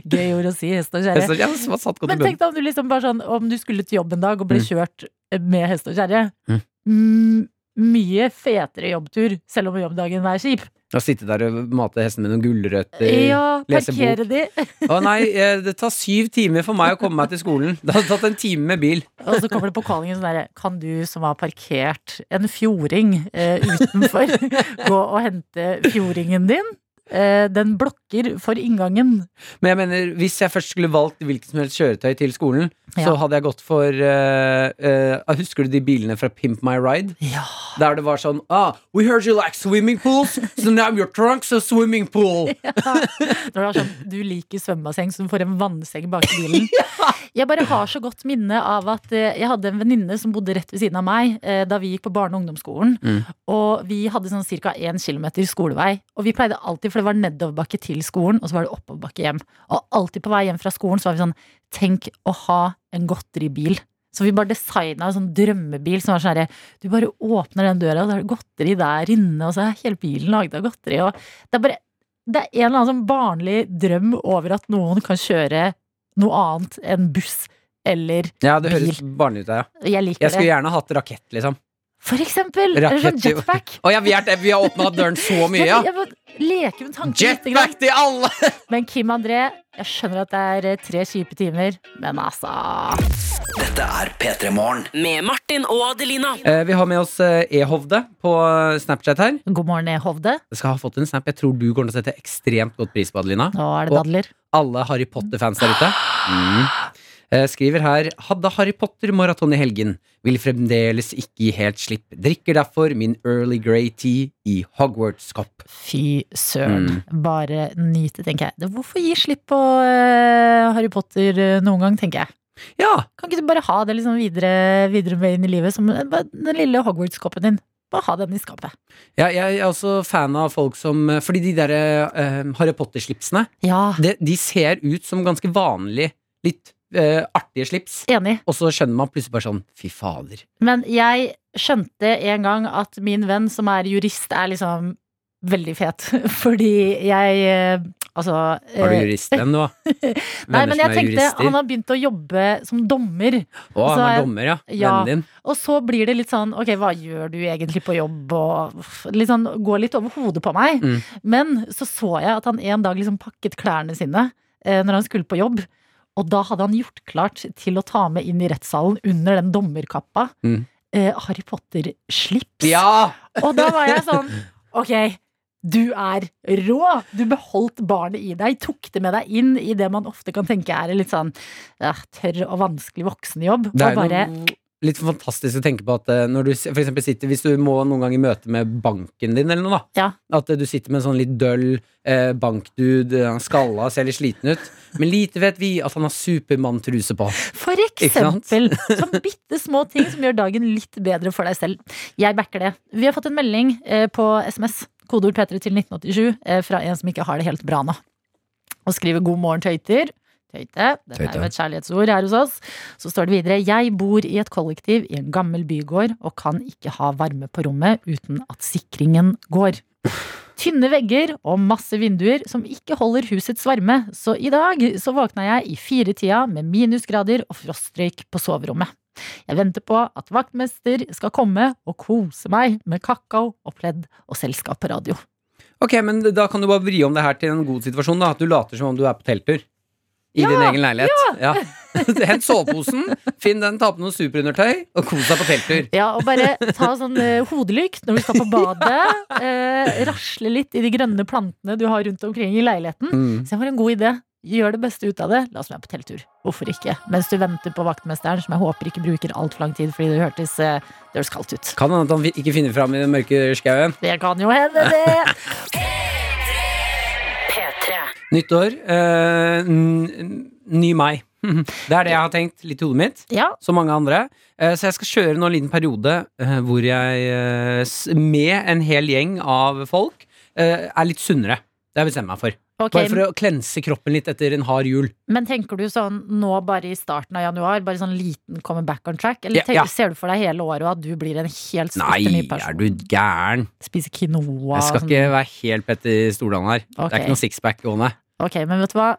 Gøy ord å si, hest og Hest kjerre. og kjerre som var satt godt i Men bunnen. tenk deg om du liksom bare sånn Om du skulle til jobb en dag og ble Mm. kjørt eh, med hest og kjerre. Mm. Mm, mye fetere jobbtur, selv om jobbdagen er kjip. Jeg har sittet der og matet hesten med noen gulrøtter. Ja, lese bok. parkere de. Å nei, eh, det tar syv timer for meg å komme meg til skolen. Det hadde tatt en time med bil. Og så kommer det på callingen sånn derre Kan du som har parkert en fjording eh, utenfor, gå og hente fjordingen din? Eh, den blokker for inngangen. Men jeg mener, hvis jeg først skulle valgt hvilket som helst kjøretøy til skolen, så Ja. hadde jeg gått for eh, eh, Husker du de bilene fra Pimp My Ride? Ja. Der det var sånn ah, We heard you like swimming pools, so now your trunk's a swimming pool. Når det er sånn, du liker svømmebasseng, så du får en vannseng bak i bilen. Jeg bare har så godt minne av at eh, jeg hadde en venninne som bodde rett ved siden av meg eh, da vi gikk på barne- og ungdomsskolen. Mm. Og vi hadde sånn ca. 1 km skolevei. Og vi pleide alltid, for det var nedoverbakke til skolen, og så var det oppoverbakke hjem. Og alltid på vei hjem fra skolen så var vi sånn Tenk å ha en godteribil. Så vi bare designa en sånn drømmebil som var sånn herre Du bare åpner den døra, og så er det godteri der inne, og så er hele bilen laget av godteri. Og det er bare det er en eller annen sånn barnlig drøm over at noen kan kjøre noe annet enn buss eller Ja, det høres barnlig ut. Ja. Jeg liker Jeg skulle det. gjerne hatt rakett, liksom. For eksempel. Eller sånn Rakett- jetpack. Å ja, vi, er, vi har åpna døren så mye, ja. Jeg må leke med tanken lite grann. Jetpack til alle! Men Kim André, jeg skjønner at det er eh, tre kjipe timer, men altså Dette er P3 Morgen. Med Martin og Adelina. Eh, Vi har med oss eh, E-Hovde på eh, Snapchat her. God morgen, E. Hovde. Jeg skal ha fått en snap. Jeg tror du kommer til å sette ekstremt godt pris på, Adelina. Nå er det Og- dadler. Alle Harry Potter-fans der ute. Mm. Eh, Skriver her Hadde Harry Potter-maraton i helgen. Vil fremdeles ikke gi helt slipp. Drikker derfor min early grey tea i Hogwarts-kopp. Fy søren. Mm. Bare nyte, tenker jeg. Det- Hvorfor gi slipp på eh, Harry Potter eh, noen gang, tenker jeg. Ja! Kan ikke du bare ha det liksom videre, videre med inn i livet, som eh, bare den lille Hogwarts-koppen din? Bare ha den i skapet. Jeg, jeg er også fan av folk som eh, Fordi de derre Harry Potter-slipsene, Ja, det- de ser ut som ganske vanlige, litt eh, artige slips. enig. Og så skjønner man plutselig bare sånn Fy fader. Men jeg skjønte en gang at min venn som er jurist, er liksom veldig fet. Fordi jeg eh, Altså Var du eh, jurist ennå? Nei, men jeg tenkte han har begynt å jobbe som dommer. Å, så han er- er dommer, ja. Ja. Vennen din. Og så blir det litt sånn ok, hva gjør du egentlig på jobb, og f- litt sånn, går litt over hodet på meg. Mm. Men så så jeg at han en dag liksom pakket klærne sine eh, når han skulle på jobb. Og da hadde han gjort klart til å ta med inn i rettssalen under den dommerkappa Mm. eh, Harry Potter-slips. Ja! Og da var jeg sånn Ok, du er rå! Du beholdt barnet i deg, tok det med deg inn i det man ofte kan tenke er en litt sånn eh, tørr og vanskelig voksenjobb. Det er Og bare noe litt fantastisk å tenke på at eh, når du s- for eksempel sitter Hvis du må noen gang i møte med banken din eller noe, da. At eh, du sitter med en sånn litt døll eh, bankdude, eh, han skalla, ser litt sliten ut. Men lite vet vi at han har Supermann-truse på. For sant? eksempel. Som bitte små ting som gjør dagen litt bedre for deg selv. Jeg backer det. Vi har fått en melding eh, på SMS, kodeord P3 til 1987, eh, fra en som ikke har det helt bra nå. Og skriver 'God morgen, tøyter'. Tøyte. Dette er jo et kjærlighetsord her hos oss. Så står det videre 'Jeg bor i et kollektiv i en gammel bygård og kan ikke ha varme på rommet uten at sikringen går'. Tynne vegger og masse vinduer som ikke holder husets varme, så i dag så våkna jeg i firetida med minusgrader og frostrøyk på soverommet. Jeg venter på at vaktmester skal komme og kose meg med kakao og pledd og selskap på radio. Ok, men da kan du bare vri om det her til en god situasjon, da. At du later som om du er på telttur. I Ja, din egen leilighet. Ja. Hent soveposen, finn den, ta på noe superundertøy, og kos deg på telttur. Ja, og bare ta sånn eh, hodelykt når du skal på badet. Eh, rasle litt i de grønne plantene du har rundt omkring i leiligheten. Mm. Så det var en god idé. Gjør det beste ut av det. La oss være på telttur. Hvorfor ikke? Mens du venter på vaktmesteren, som jeg håper ikke bruker altfor lang tid, fordi det hørtes, eh, det høres kaldt ut. Kan hende at han ikke finner fram i den mørke skauen. Det kan jo hende, det. Nytt år. eh, n- n- ny meg. Det er det jeg har tenkt litt i hodet mitt, Ja, som mange andre. Eh, så jeg skal kjøre nå en liten periode eh, hvor jeg eh, s- med en hel gjeng av folk eh, er litt sunnere. Det har jeg bestemt meg for. ok. Bare for å klense kroppen litt etter en hard jul. Men tenker du sånn nå bare i starten av januar, bare sånn liten come back on track? Eller Ja, ja. tenker, ser du for deg hele året og at du blir en helt Nei, spytter ny er person? du gæren? Spiser quinoa Jeg skal og ikke være helt Petter Stordalen her. Det Ok. er ikke noe sixpack gående. Ok, men vet du hva?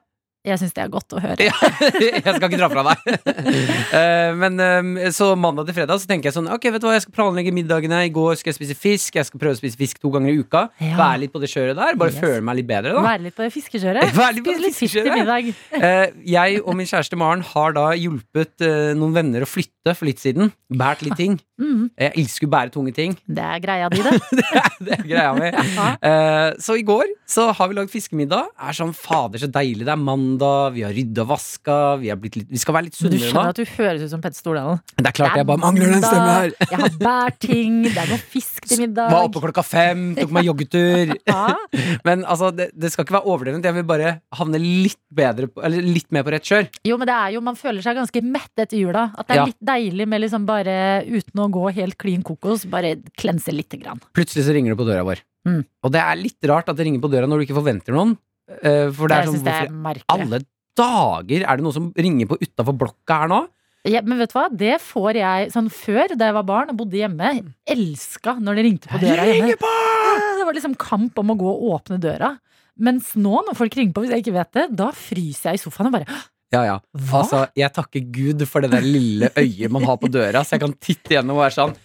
Jeg syns det er godt å høre. Ja, jeg skal ikke dra fra deg. Eh, Men eh, så mandag til fredag så tenker jeg sånn Ok, vet du hva, jeg skal planlegge middagene. I går skal jeg spise fisk. Jeg skal prøve å spise fisk to ganger i uka. Ja. Være litt på det kjøret der. Bare Yes. føle meg litt bedre, da. Være litt på det fiskekjøret. Være litt på Spise det litt fisk til fiskekjøret. middag. Eh, Jeg og min kjæreste Maren har da hjulpet eh, noen venner å flytte for litt siden. Bært litt ting. Mm, Jeg elsker å bære tunge ting. det er greia di, det. Det er, det er greia mi. Ja. Eh, så i går så har vi lagd fiskemiddag. Er sånn fader, så deilig. Det er mandag. Vi har rydda og vaska. Vi, er blitt litt, vi skal være litt Du sunnere nå. skjønner at du høres ut som Petter Stordalen. Det er klart Det er jeg bare mangler den stemmen mandag, her. Jeg har bærting, det er noe fisk til middag. Var oppe klokka fem, tok meg joggetur. Ja. Men altså, det, det skal ikke være overdrevent. Jeg vil bare havne litt bedre på, Eller litt mer på rett kjør. Jo, men det er jo, man føler seg ganske mett etter jula. At det er Ja. litt deilig med liksom bare, uten å gå helt klin kokos, bare klense lite grann. Plutselig så ringer det på døra vår. Mm. Og det er litt rart at det ringer på døra når du ikke forventer noen. Eh, For det er jeg sånn syns det er hvorfor i merkelig. Alle dager! Er det noen som ringer på utafor blokka her nå? Ja, men vet du hva, det får jeg sånn før, da jeg var barn og bodde hjemme, Mm. elska når det ringte på døra hjemme. på! Ja, Det var liksom kamp om å gå og åpne døra. Mens nå, når folk ringer på hvis jeg ikke vet det, da fryser jeg i sofaen og bare Ja, ja. Hva? Altså, jeg takker Gud for det der lille øyet man har på døra, så jeg kan titte gjennom og være sånn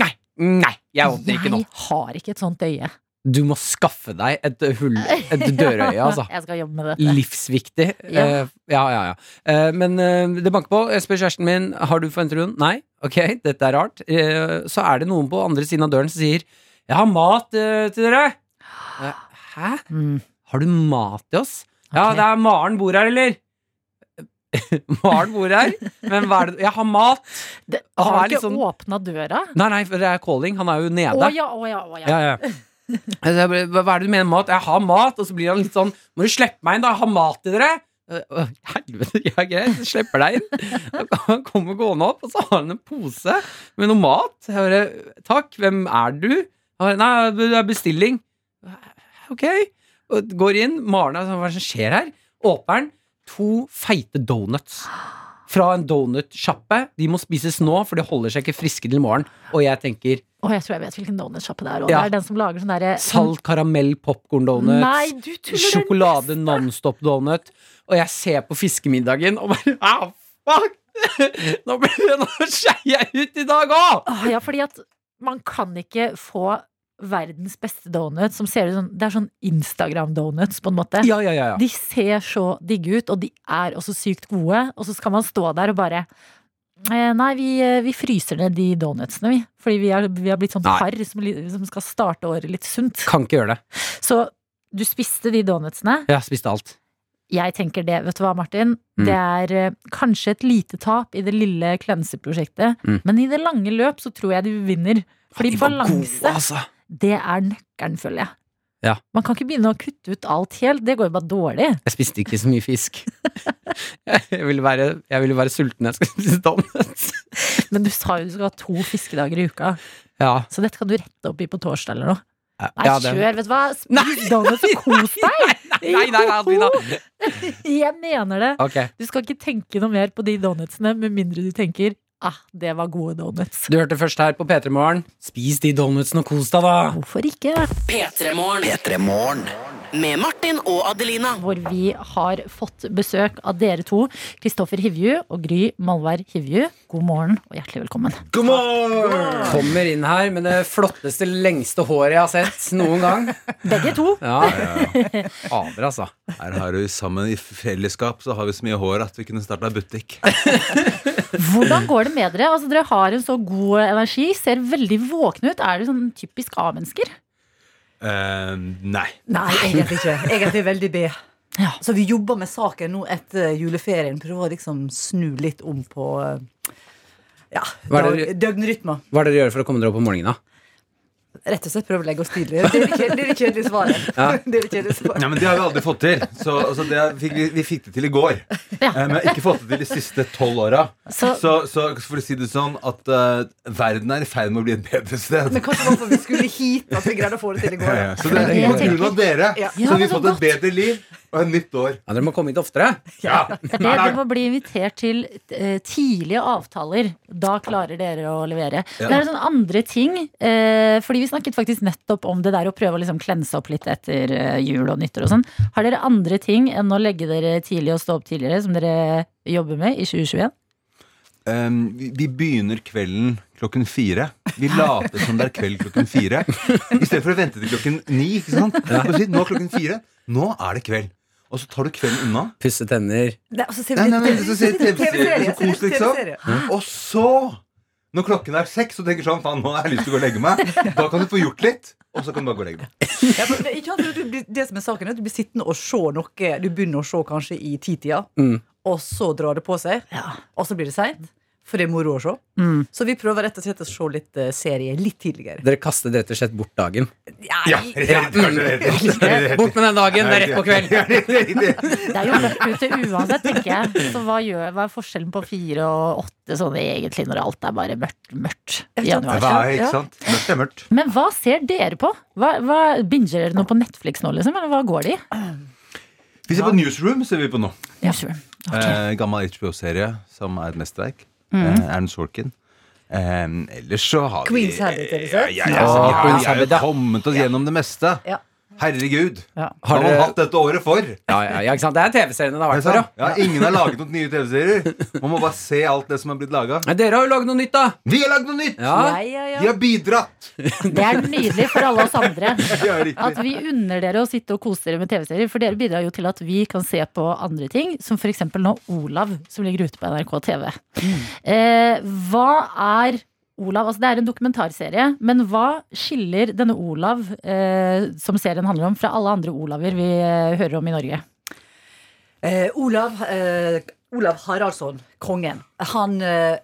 Nei! Nei, jeg åpner ikke nå. Jeg har ikke et sånt øye. Du må skaffe deg et hull, et dørøye, altså. Jeg skal jobbe med dette. Livsviktig. Ja. Eh, ja, ja, ja. Eh, men eh, det banker på. Jeg spør kjæresten min har du forventet hund. Nei. Ok, dette er rart. Eh, så er det noen på andre siden av døren som sier jeg har mat eh, til dere. Eh, Hæ? Mm. Har du mat til oss? Ja, Ok. det er Maren bor her, eller? Maren bor her? Men hva er det Jeg har mat! Det, Han har er du ikke liksom- åpna døra? Nei, nei, for det er calling. Han er jo nede. Å ja, å ja, å ja. Ja, ja. Altså, jeg ble, hva hva er det du mener med mat? Jeg har mat, og så blir han litt sånn Må du slippe meg inn, da? Jeg har mat til dere! Øh, øh, Helvete, ja, greit, så slipper jeg deg inn. Og Han kommer gående opp, og så har han en pose med noe mat. Jeg bare Takk, hvem er du? Han bare, Nei, det er bestilling. Ok. Og går inn. Maren er sånn, hva er det som skjer her? Åpner den. To feite donuts. Fra en donutsjappe. De må spises nå, for de holder seg ikke friske til i morgen. Og jeg tenker Å, jeg tror jeg vet hvilken donutsjappe det er. Og Ja. Det er den som lager sånn derre Salt karamell popcorn donuts. Nei, du tuller! Sjokolade nonstop donut. Og jeg ser på fiskemiddagen og bare ah, fuck! Nå blir det Nå skeier jeg ut i dag òg! Å, ja, fordi at man kan ikke få verdens beste donut som ser ut som Det er sånn Instagram-donuts, på en måte. Ja, ja, ja, ja. De ser så digge ut, og de er også sykt gode. Og så skal man stå der og bare eh, Nei, vi, eh, vi fryser ned de donutsene, vi. Fordi vi har, vi har blitt sånn Nei. par som, li- som skal starte året litt sunt. Kan ikke gjøre det. Så du spiste de donutsene. Jeg har spist alt. Jeg tenker det. Vet du hva, Martin? Mm. Det er eh, kanskje et lite tap i det lille klenseprosjektet, Mm. men i det lange løp så tror jeg du vinner. Fordi De var balanse, gode, altså. det er nøkkelen, føler jeg. Ja. Man kan ikke begynne å kutte ut alt helt, det går jo bare dårlig. Jeg spiste ikke så mye fisk. Jeg ville være, jeg ville være sulten når jeg skulle spise donuts. Men du sa jo du skal ha to fiskedager i uka, Ja. så dette kan du rette opp i på torsdag eller noe. Nei, ja, det- kjør, vet du hva. Nei, Spis donuts og kos deg! Nei, nei, nei, Adelina. Jeg mener det. Ok. Du skal ikke tenke noe mer på de donutsene, med mindre du tenker ah, det var gode donuts. Du hørte først her på P3 Morgen. Spis de donutsene og kos deg, da. Hvorfor ikke? P3morgen. P3 Morgen. Med Martin og Adelina. hvor vi har fått besøk av dere to, Kristoffer Hivju og Gry Malvær Hivju. God morgen og hjertelig velkommen. Kommer inn her med det flotteste, lengste håret jeg har sett noen gang. Begge to. Ja, Aner, altså. Her har vi sammen i fellesskap så har vi så mye hår at vi kunne starta butikk. Hvordan går det med dere? Altså, dere har en så god energi, ser veldig våkne ut. Er dere sånn typisk A-mennesker? Eh, nei. Nei. Egentlig ikke. Egentlig veldig B. Ja. Så vi jobber med saken nå etter juleferien. Prøver å liksom snu litt om på eh, ja, Hva er dag, det døgnrytma. Hva er det dere gjør for å komme dere opp om morgenen? da? Rett og slett prøver å legge oss tidlig. Det er det kjedelige, det er det kjedelige svaret. Det er det kjedelige svaret. Nei, men Det har vi aldri fått til. Så altså, det fikk, vi, vi fikk det til i går. Eh, men vi har ikke fått det til de siste tolv åra. Så- Så, så for å si det sånn at eh, verden er i ferd med å bli et bedre sted. Men kanskje det var for vi skulle hit at vi greide å få det til i går. Ja, ja. Så det Jeg er på grunn av dere Ja. så har men vi så fått et bedre liv og et nytt år. Ja, dere må komme hit oftere. Ja. Det er det dere må bli invitert til eh, tidlige avtaler. Da klarer dere å levere. Ja. Det er sånn andre ting. Eh, fordi vi snakket faktisk nettopp om det der å prøve å liksom klense opp litt etter eh, jul og nyttår og sånn. Har dere andre ting enn å legge dere tidlig og stå opp tidligere, som dere jobber med i 2021? Ehm, vi, vi begynner kvelden klokken fire. Vi later som det er kveld klokken fire. I stedet for å vente til klokken ni. Ikke sant? Og si, nå er klokken fire. Nå er det kveld. Og så tar du kvelden unna. Pusse tenner. Nei, altså, ser vi Nei, nei, nei, litt- så ser jeg TV-serie. TV-serie, Så koselig, ikke sant? TV-serie. Og så, når klokken er seks, og tenker sånn Faen, nå har jeg lyst til å gå og legge meg. Da kan du få gjort litt. Og så kan du bare gå og legge deg. Ja, men det, er ikke sant, du blir, det som er saken er at du blir sittende og se noe Du begynner å se kanskje i titida, Mm. og så drar det på seg. Og så blir det seint, for det er moro å se. Mm. Så vi prøver rett og slett å se litt eh, serie litt tidligere. Dere kastet rett og slett bort dagen. Ja, rett, kanskje, rett, Bort med den dagen, det er rett på kveld. kveld. Det er jo mørkt ute uansett, tenker jeg. Så hva, gjør, hva er forskjellen på fire og åtte sånn egentlig, når alt er bare mørkt, mørkt i januar? Hva er, ikke sant? Mørkt er mørkt. Men hva ser dere på? Hva, hva Binger dere noe på Netflix nå, liksom? Eller hva går det i? Vi ser på Newsroom, ser vi på nå. Ja, sure. Eh, gammel HBO-serie som er et mesterverk. Mm. Eh, Aaron Sorkin. Eh, ellers så har Queen's vi Habit, har du Ja, sett? ja, ja, altså, vi har- Queen's vi har jo Habit, ja. kommet oss gjennom det meste. Ja. Herregud. Ja. Hva har Har man dere- hatt dette året for? Ja, ja, ja, ikke sant? Det er TV-seriene det har Er det vært for, ja. sant? Ja, ingen har laget noen nye TV-serier. Man må bare se alt det som er blitt laga. Men Dere har jo lagd noe nytt, da! Vi har lagd noe nytt! Ja. Ja, ja, Vi ja. har bidratt! Det er nydelig for alle oss andre. Ja, riktig. At vi unner dere å sitte og kose dere med TV-serier, for dere bidrar jo til at vi kan se på andre ting, som f.eks. nå Olav, som ligger ute på NRK TV. Eh, hva er Olav? Altså, det er en dokumentarserie, men hva skiller denne Olav, eh, som serien handler om, fra alle andre Olaver vi eh, hører om i Norge? Eh, Olav, eh, Olav Haraldsson, kongen, han eh,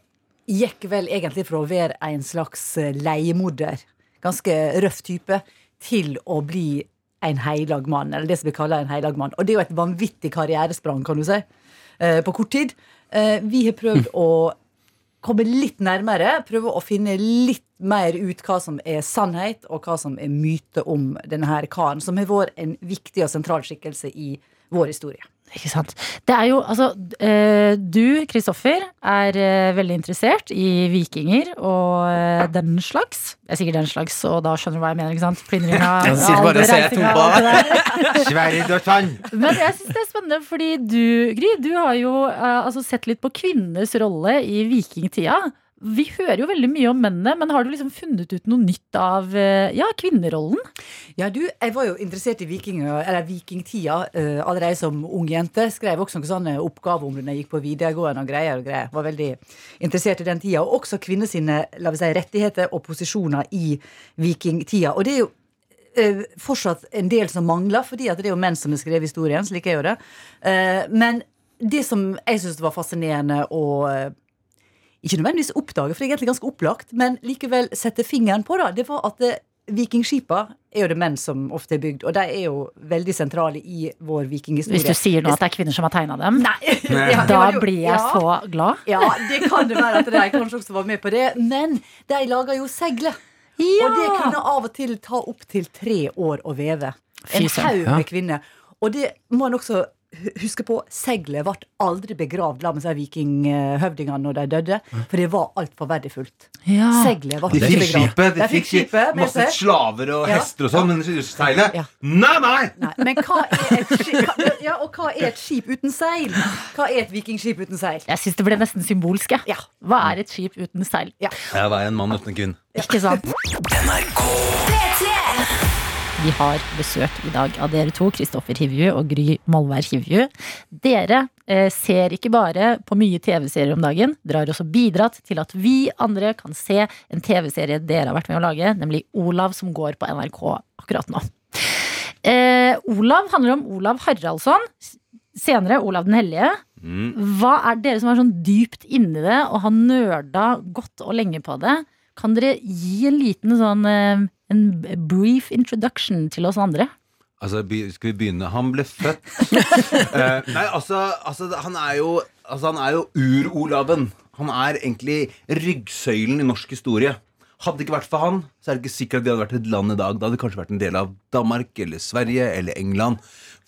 gikk vel egentlig fra å være en slags eh, leiemorder, ganske røff type, til å bli en heilag mann, eller det som vi kaller en heilag mann. Og det er jo et vanvittig karrieresprang, kan du si, eh, på kort tid. Eh, vi har prøvd å komme litt nærmere, prøve å finne litt mer ut hva som er sannhet, og hva som er myte om denne her karen, som har vært en viktig og sentral skikkelse i vår historie. Ikke sant. Det er jo, altså, eh, du, Kristoffer, er eh, veldig interessert i vikinger og eh, den slags. Jeg sier den slags, og da skjønner du hva jeg mener, ikke sant? Plyndring av Jeg sitter bare og ser reising av tompa. alt det der. Sverd og tann. Men jeg syns det er spennende, fordi du, Gry, du har jo eh, altså sett litt på kvinnenes rolle i vikingtida. Vi hører jo veldig mye om mennene, men har du liksom funnet ut noe nytt av eh, ja, kvinnerollen? Ja, du, jeg var jo interessert i vikinger, eller vikingtida eh, allerede som ung jente. Skrev også noen sånne oppgaver om det når jeg gikk på videregående og greier og greier. Var veldig interessert i den tida. Og også kvinner sine la vi si, rettigheter og posisjoner i vikingtida. Og det er jo eh, fortsatt en del som mangler, fordi at det er jo menn som har skrevet historien. slik jeg gjør det. Eh, men det som jeg syns var fascinerende og eh, ikke nødvendigvis oppdage, for det er egentlig ganske opplagt, men likevel sette fingeren på, da, det var at eh, vikingskipa er jo det menn som ofte er bygd, og de er jo veldig sentrale i vår vikinghistorie. Hvis du sier nå at det er kvinner som har tegna dem, Nei! Ja, det da var jo- blir jeg ja. så glad. Ja, det kan det være at de kanskje også var med på det, men de laga jo segler. Og det kunne av og til ta opptil tre år å veve. Fy En søren. haug med kvinner. Og det må en også hu- huske på, seglet ble aldri begravd la med seg vikinghøvdingene når de døde, for det var altfor verdifullt. Ja. Seglet ble De ikke fikk begravd. skipet, de De fikk skipet med masse seg. slaver og Ja. hester og sånn, men seilet Ja. Nei, nei! Nei, men hva er et skip, hva, ja, og hva er et skip uten seil? Hva er et vikingskip uten seil? Jeg syns det ble nesten symbolsk, jeg. Ja. Hva er et skip uten seil? Jeg var en mann uten en kvinne. Ikke sant? NRK Vi har besøk i dag av dere to, Kristoffer Hivju og Gry Molvær Hivju. Dere eh, ser ikke bare på mye TV-serier om dagen, dere har også bidratt til at vi andre kan se en TV-serie dere har vært med å lage, nemlig Olav som går på NRK akkurat nå. Eh, Olav handler om Olav Haraldsson, s- senere Olav den hellige. Hva er dere som er sånn dypt inni det og har nerda godt og lenge på det? Kan dere gi en liten sånn eh, en brief introduction til oss andre? Altså, be- skal vi begynne? Han ble født Eh, Nei, altså, altså han er jo Altså, han er jo ur-Olaven. Han er egentlig ryggsøylen i norsk historie. Hadde det ikke vært for han, så er det ikke sikkert at de hadde vært et land i dag. Da hadde de kanskje vært en del av Danmark eller Sverige eller England.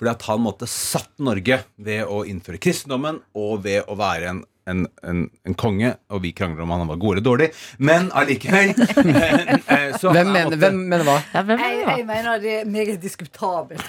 Fordi at han måtte satt Norge ved å innføre kristendommen og ved å være en en, en, en konge, og vi krangler om han var god eller dårlig, men allikevel eh, eh, så Hvem han mener, måtte- hvem mener hva? Ja, hvem er Jeg, det, da? jeg mener det er meget diskutabelt.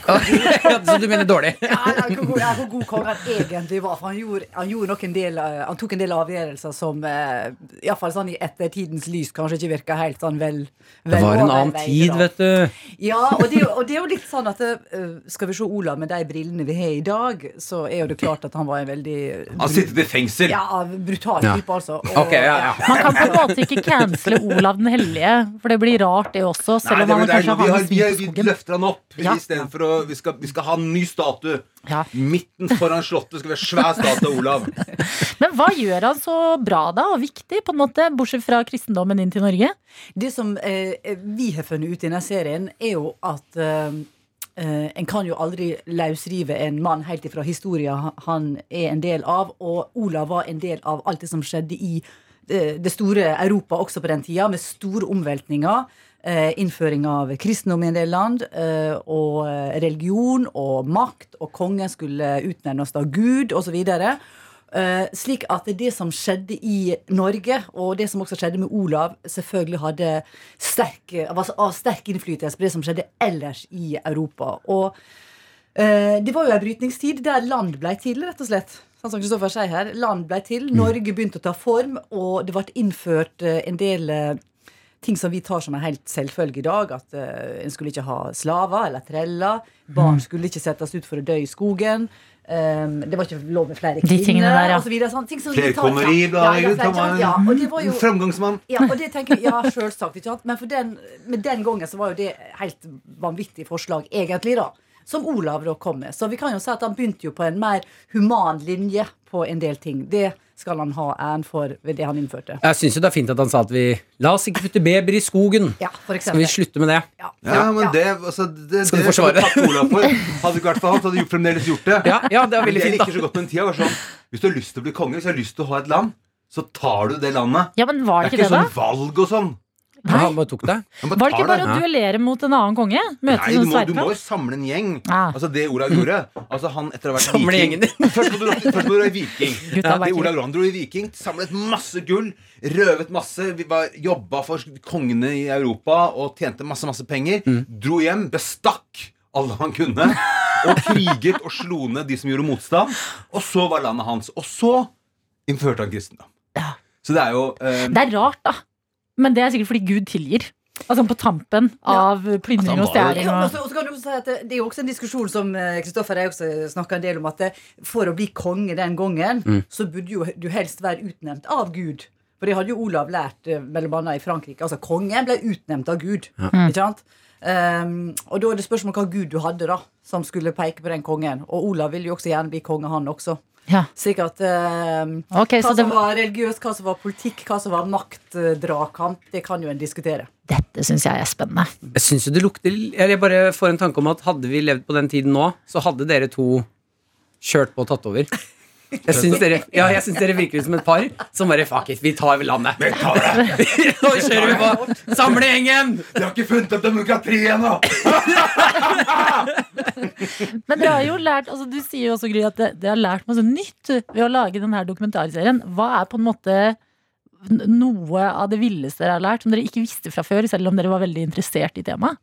Så du mener dårlig? Ja, nei, hvor, god, ja, hvor god kongen egentlig var. For han, gjorde, han, gjorde nok en del, eh, han tok en del avgjørelser som eh, i hvert fall sånn i ettertidens lys kanskje ikke virka helt sånn vel, vel Det var en annen overveid, tid, da. vet du. Ja, og det, er jo- og det er jo litt sånn at eh, Skal vi se Olav med de brillene vi har i dag, så er jo det klart at han var en veldig Han sittet i fengsel. ja, brutal Ja. type, altså. Og, Ok, ja, ja. Man kan på en måte ikke cancele Olav den hellige, for det blir rart det også, selv Nei, om det, han det er, kanskje vi, har har, en vi, svin har, på vi skogen. løfter han opp Ja. istedenfor å vi skal, vi skal ha en ny statue. Ja. Midten foran Slottet skal være svær statue av Olav. Men hva gjør han så bra da, og viktig, på en måte, bortsett fra kristendommen inn til Norge? Det som eh, vi har funnet ut i denne serien, er jo at eh, eh, en kan jo aldri løsrive en mann helt ifra historien han er en del av, og Olav var en del av alt det som skjedde i eh, det store Europa også på den tida, med store omveltninger. Eh, innføring av kristendom i en del land, eh, og eh, religion og makt, og kongen skulle utnevnes av Gud, osv. Eh, slik at det som skjedde i Norge, og det som også skjedde med Olav, selvfølgelig hadde sterk, var av sterk innflytelse på det som skjedde ellers i Europa. Og eh, det var jo en brytningstid der land blei til, rett og slett. Sånn som Kristoffer sier her. Land blei til, Mm. Norge begynte å ta form, og det ble innført eh, en del eh, ting som vi tar som en helt selvfølge i dag. At eh, en skulle ikke ha slaver eller treller. Barn Mm. skulle ikke settes ut for å dø i skogen. em, det var ikke lov med flere De tingene der, kvinner. ja. og så videre, sånn, ting som vi tar- Flerkommeri, da. Ja, ja, ikke flere- sant? ja, og det var jo Framgangsmål. ja, og det tenker jeg, ja, selvsagt, ikke sant? Men for den, men den gangen så var jo det helt vanvittig forslag, egentlig, da. Som Olav da kom med. Så vi kan jo si at han begynte jo på en mer human linje på en del ting. Det skal han ha æren for ved det han innførte. Jeg syns jo det er fint at han sa at vi La oss ikke putte babyer i skogen. Ja, for Skal vi eksempel. slutte med det? Ja, Ja, men det, altså, det, Skal du det forsvare? takke Olav for. Hadde du ikke vært for han, så hadde du gjort- fremdeles gjort det. Ja, ja det er Men veldig det jeg fint, liker da. så godt med den tida, var sånn Hvis du har lyst til å bli konge, hvis du har lyst til å ha et land, så tar du det landet. Ja, men var Det det ikke er ikke det, da? sånn valg og sånn. Ja, han bare tok det. Man Var det ikke tar bare å duellere mot en annen konge? Møtes Nei, du som må, du må sverdkamp? jo samle en gjeng. Ah. Altså Det Olav gjorde Altså han etter å ha vært Samle gjengen viking Først må du først må du være viking. Gutta Ja, det viking. Olav Rand dro i viking, samlet masse gull, røvet masse, vi var, jobba for kongene i Europa og tjente masse, masse penger. Dro hjem, bestakk alle han kunne, og kriget og slo ned de som gjorde motstand. Og så var landet hans. Og så innførte han kristendom. Så det er jo eh, Det er rart, da. Men det er sikkert fordi Gud tilgir. Altså på tampen av plyndring og stjeling. Ja, og og- så, og så kan du også si at det, det er jo også en diskusjon som eh, Kristoffer og jeg også snakket en del om, at det, for å bli konge den gangen, så burde jo du helst være utnevnt av Gud. For det hadde jo Olav lært, eh, mellom annet i Frankrike. Altså, kongen ble utnevnt av Gud. Mm. Ikke sant? Ehm, og da er det spørsmål hva Gud du hadde, da, som skulle peke på den kongen. Og Olav ville jo også gjerne bli konge, han også. Ja. altså, Slik at ehm, Ok, hva så det som var religiøst, hva som var politikk, hva som var maktdragkamp, det kan jo en diskutere. Dette syns jeg er spennende. Jeg syns jo det lukter Jeg bare får en tanke om at hadde vi levd på den tiden nå, så hadde dere to kjørt på og tatt over. Jeg syns dere, ja, jeg syns dere virker som et par som bare Fuck it, vi tar landet. Vi tar det. Nå kjører vi på. Samle gjengen! De har ikke funnet opp demokrati ennå! Men dere har jo lært, altså du sier jo også, Gry, at det- dere har lært masse nytt ved å lage denne dokumentarserien. Hva er på en måte n- noe av det villeste dere har lært, som dere ikke visste fra før, selv om dere var veldig interessert i temaet?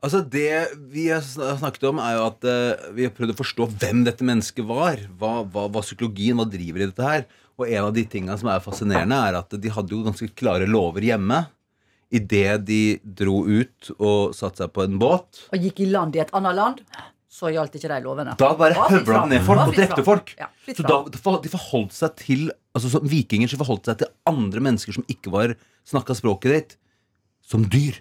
Altså Det vi har sn- snakket om, er jo at eh, vi har prøvd å forstå hvem dette mennesket var. Hva, hva, hva psykologien, hva driver i dette her? Og en av de tingene som er fascinerende, er at de hadde jo ganske klare lover hjemme. Idet de dro ut og satte seg på en båt. og gikk i land i et annet land, så gjaldt ikke de lovene. Da bare Ja, fritt høvla fram. de ned folk Ja, og fritt drepte fram. folk. Ja, fritt Så da, fram. de for- de forholdt seg til altså, som Vikinger så forholdt seg til andre mennesker som ikke var snakka språket ditt, som dyr.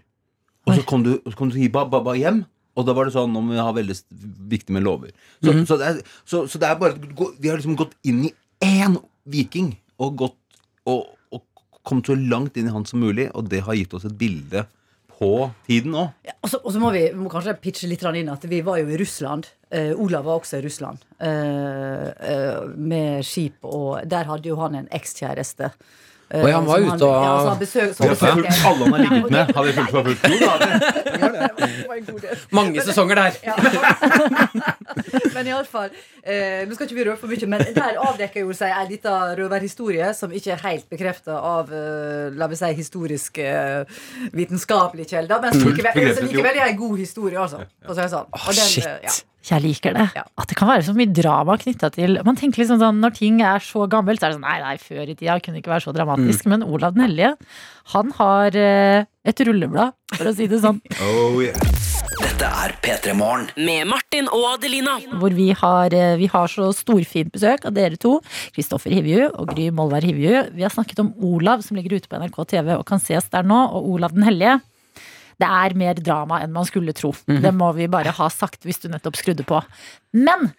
Og så kom du, så kom du til Hiba Baba hjem, og da var det sånn Nå må vi ha veldig s- viktig med lover. Så, så, det, er, så, så det er bare å gå- De har liksom gått inn i én viking og gått og, og kommet så langt inn i han som mulig, og det har gitt oss et bilde på tiden nå. Ja, og, så, og så må vi må kanskje pitche litt grann inn at vi var jo i Russland. Eh, Olav var også i Russland eh, eh, med skip, og der hadde jo han en ekskjæreste. Eh, Oi, han var som ute og- ja, så han besøk, så Vi har besøkte- fulgt alle han har ligget med. Har vi fulgt for fullt? Jo, da har vi. Mange sesonger der. Ja. men iallfall eh, Nå skal ikke vi røpe for mye, men der avdekker jo seg en liten røverhistorie som ikke er helt bekrefta av eh, la meg si, historiske, eh, vitenskapelige kilder. Mm. Men som likevel, bekreftet, som jo. likevel er en god historie, altså. For å si det sånn. Og den, eh, ja. shit. Jeg liker det. Ja. At det kan være så mye drama knytta til Man tenker liksom sånn, Når ting er så gammelt, så er det sånn Nei, nei, før i tida kunne det ikke være så dramatisk. Men Olav den hellige, han har eh, et rulleblad, for å si det sånn. Oh, yeah. Dette er P3 Morgen. Med Martin og Adelina. hvor vi har, eh, vi har så storfint besøk av dere to. Kristoffer Hivju og Gry Molvær Hivju. Vi har snakket om Olav, som ligger ute på NRK TV og kan ses der nå, og Olav den hellige. Det er mer drama enn man skulle tro. Det må vi bare ha sagt hvis du nettopp skrudde på. Men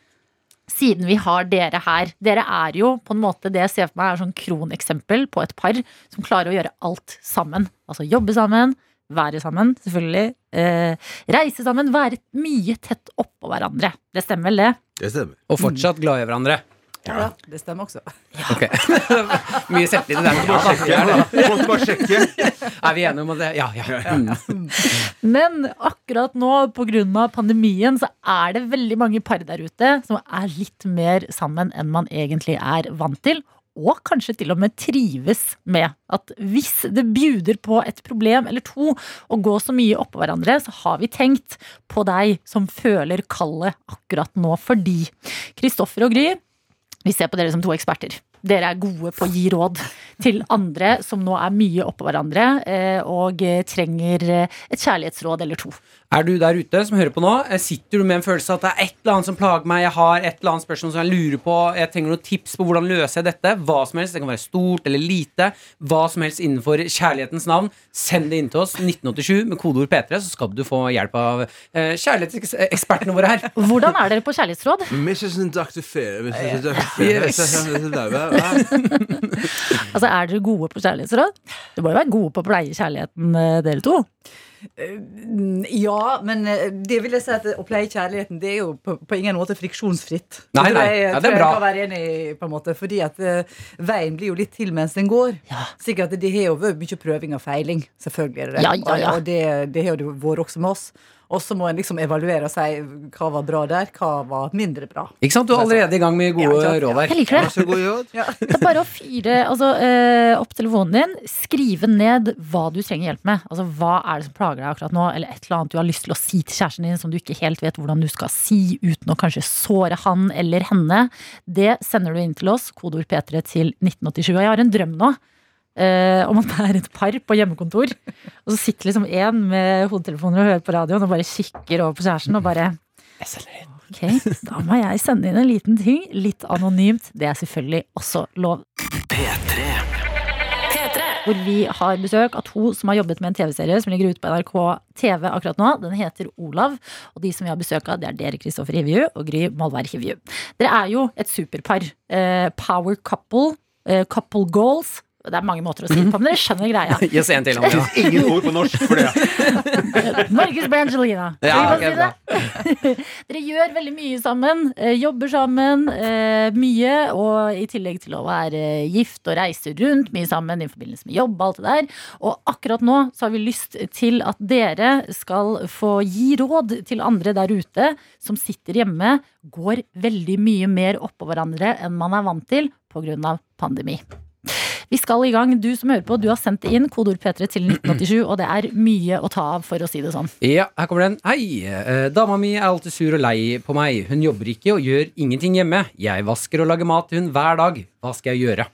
siden vi har dere her Dere er jo på en måte det jeg ser for meg er sånn kroneksempel på et par som klarer å gjøre alt sammen. Altså jobbe sammen, være sammen, selvfølgelig. Eh, reise sammen, være mye tett oppå hverandre. Det stemmer vel, det? Det stemmer. Og fortsatt glad i hverandre. Ja, da, det stemmer også. Ok. Mye selvtillit der. Ja, da, vi er det. Måtte bare sjekke. Er vi enige om at det? Ja, ja. Mm. Men akkurat nå, pga. pandemien, så er det veldig mange par der ute som er litt mer sammen enn man egentlig er vant til. Og kanskje til og med trives med at hvis det bjuder på et problem eller to å gå så mye oppå hverandre, så har vi tenkt på deg som føler kallet akkurat nå fordi Kristoffer og Gry, vi ser på dere som to eksperter. Dere er gode på å gi råd til andre som nå er mye oppå hverandre eh, og eh, trenger eh, et kjærlighetsråd eller to. Er du der ute som hører på nå? eh, Sitter du med en følelse av at det er et eller annet som plager meg? Jeg har et eller annet spørsmål som jeg lurer på. Jeg trenger noen tips på hvordan løser jeg dette? Hva som helst. Det kan være stort eller lite. Hva som helst innenfor kjærlighetens navn. Send det inn til oss 1987 med kodeord P3, så skal du få hjelp av eh, kjærlighetsekspertene våre her. Hvordan er dere på kjærlighetsråd? Mrs. and Dr. Fair, Mrs. Dr. Yes. Altså, Er dere gode på kjærlighetsråd? Dere må jo være gode på å pleie kjærligheten, eh, dere to. Mm, Ja, men eh, det vil jeg si at å pleie kjærligheten Det er jo på, på ingen måte friksjonsfritt. Nei, Det tror nei. Jeg, Ja, det er tror jeg bra. kan være enig i, på en måte Fordi at eh, veien blir jo litt til mens den går. Sikkert at Det har jo vært mye prøving og feiling. Selvfølgelig er det det. Ja, ja, ja. Og, og det, det har det vært også med oss. Og så må en liksom evaluere og si hva var bra der, hva var mindre bra. Ikke sant? Du er allerede i gang med Ja, gode ikke sant? råd her. Jeg liker det. Det er bare å fyre altså, eh, opp telefonen din, skrive ned hva du trenger hjelp med. Altså, Hva er det som plager deg akkurat nå, eller et eller annet du har lyst til å si til kjæresten din som du ikke helt vet hvordan du skal si uten å kanskje såre han eller henne. Det sender du inn til oss, kodeord P3 til 1987. Og jeg har en drøm nå. eh, om at det er et par på hjemmekontor. Og så sitter liksom én med hodetelefoner og hører på radioen og bare kikker over på kjæresten og bare Ok, da må jeg sende inn en liten ting, litt anonymt. Det er selvfølgelig også lov. Hvor vi har besøk av to som har jobbet med en TV-serie som ligger ute på NRK TV akkurat nå. Den heter Olav, og de som vi har besøk av, det er dere, Kristoffer Hivju og Gry Malvær Hivju. Dere er jo et superpar. Eh, power couple. Eh, couple goals. Det er mange måter å si det på, men dere skjønner greia. Gi oss en til. Andrea. Ingen ord på norsk for det. Norges Brangelina. Ja, ok, bra. Dere gjør veldig mye sammen, eh, jobber sammen eh, mye, og i tillegg til å være gift og reise rundt mye sammen i forbindelse med jobb og alt det der. Og akkurat nå så har vi lyst til at dere skal få gi råd til andre der ute som sitter hjemme, går veldig mye mer oppå hverandre enn man er vant til pga. pandemi. Vi skal i gang. Du som hører på, du har sendt det inn kodeord P3 til 1987, og det er mye å ta av, for å si det sånn. Ja, her kommer den. Hei, eh, dama mi er alltid sur og lei på meg. Hun jobber ikke og gjør ingenting hjemme. Jeg vasker og lager mat til hun hver dag. Hva skal jeg gjøre?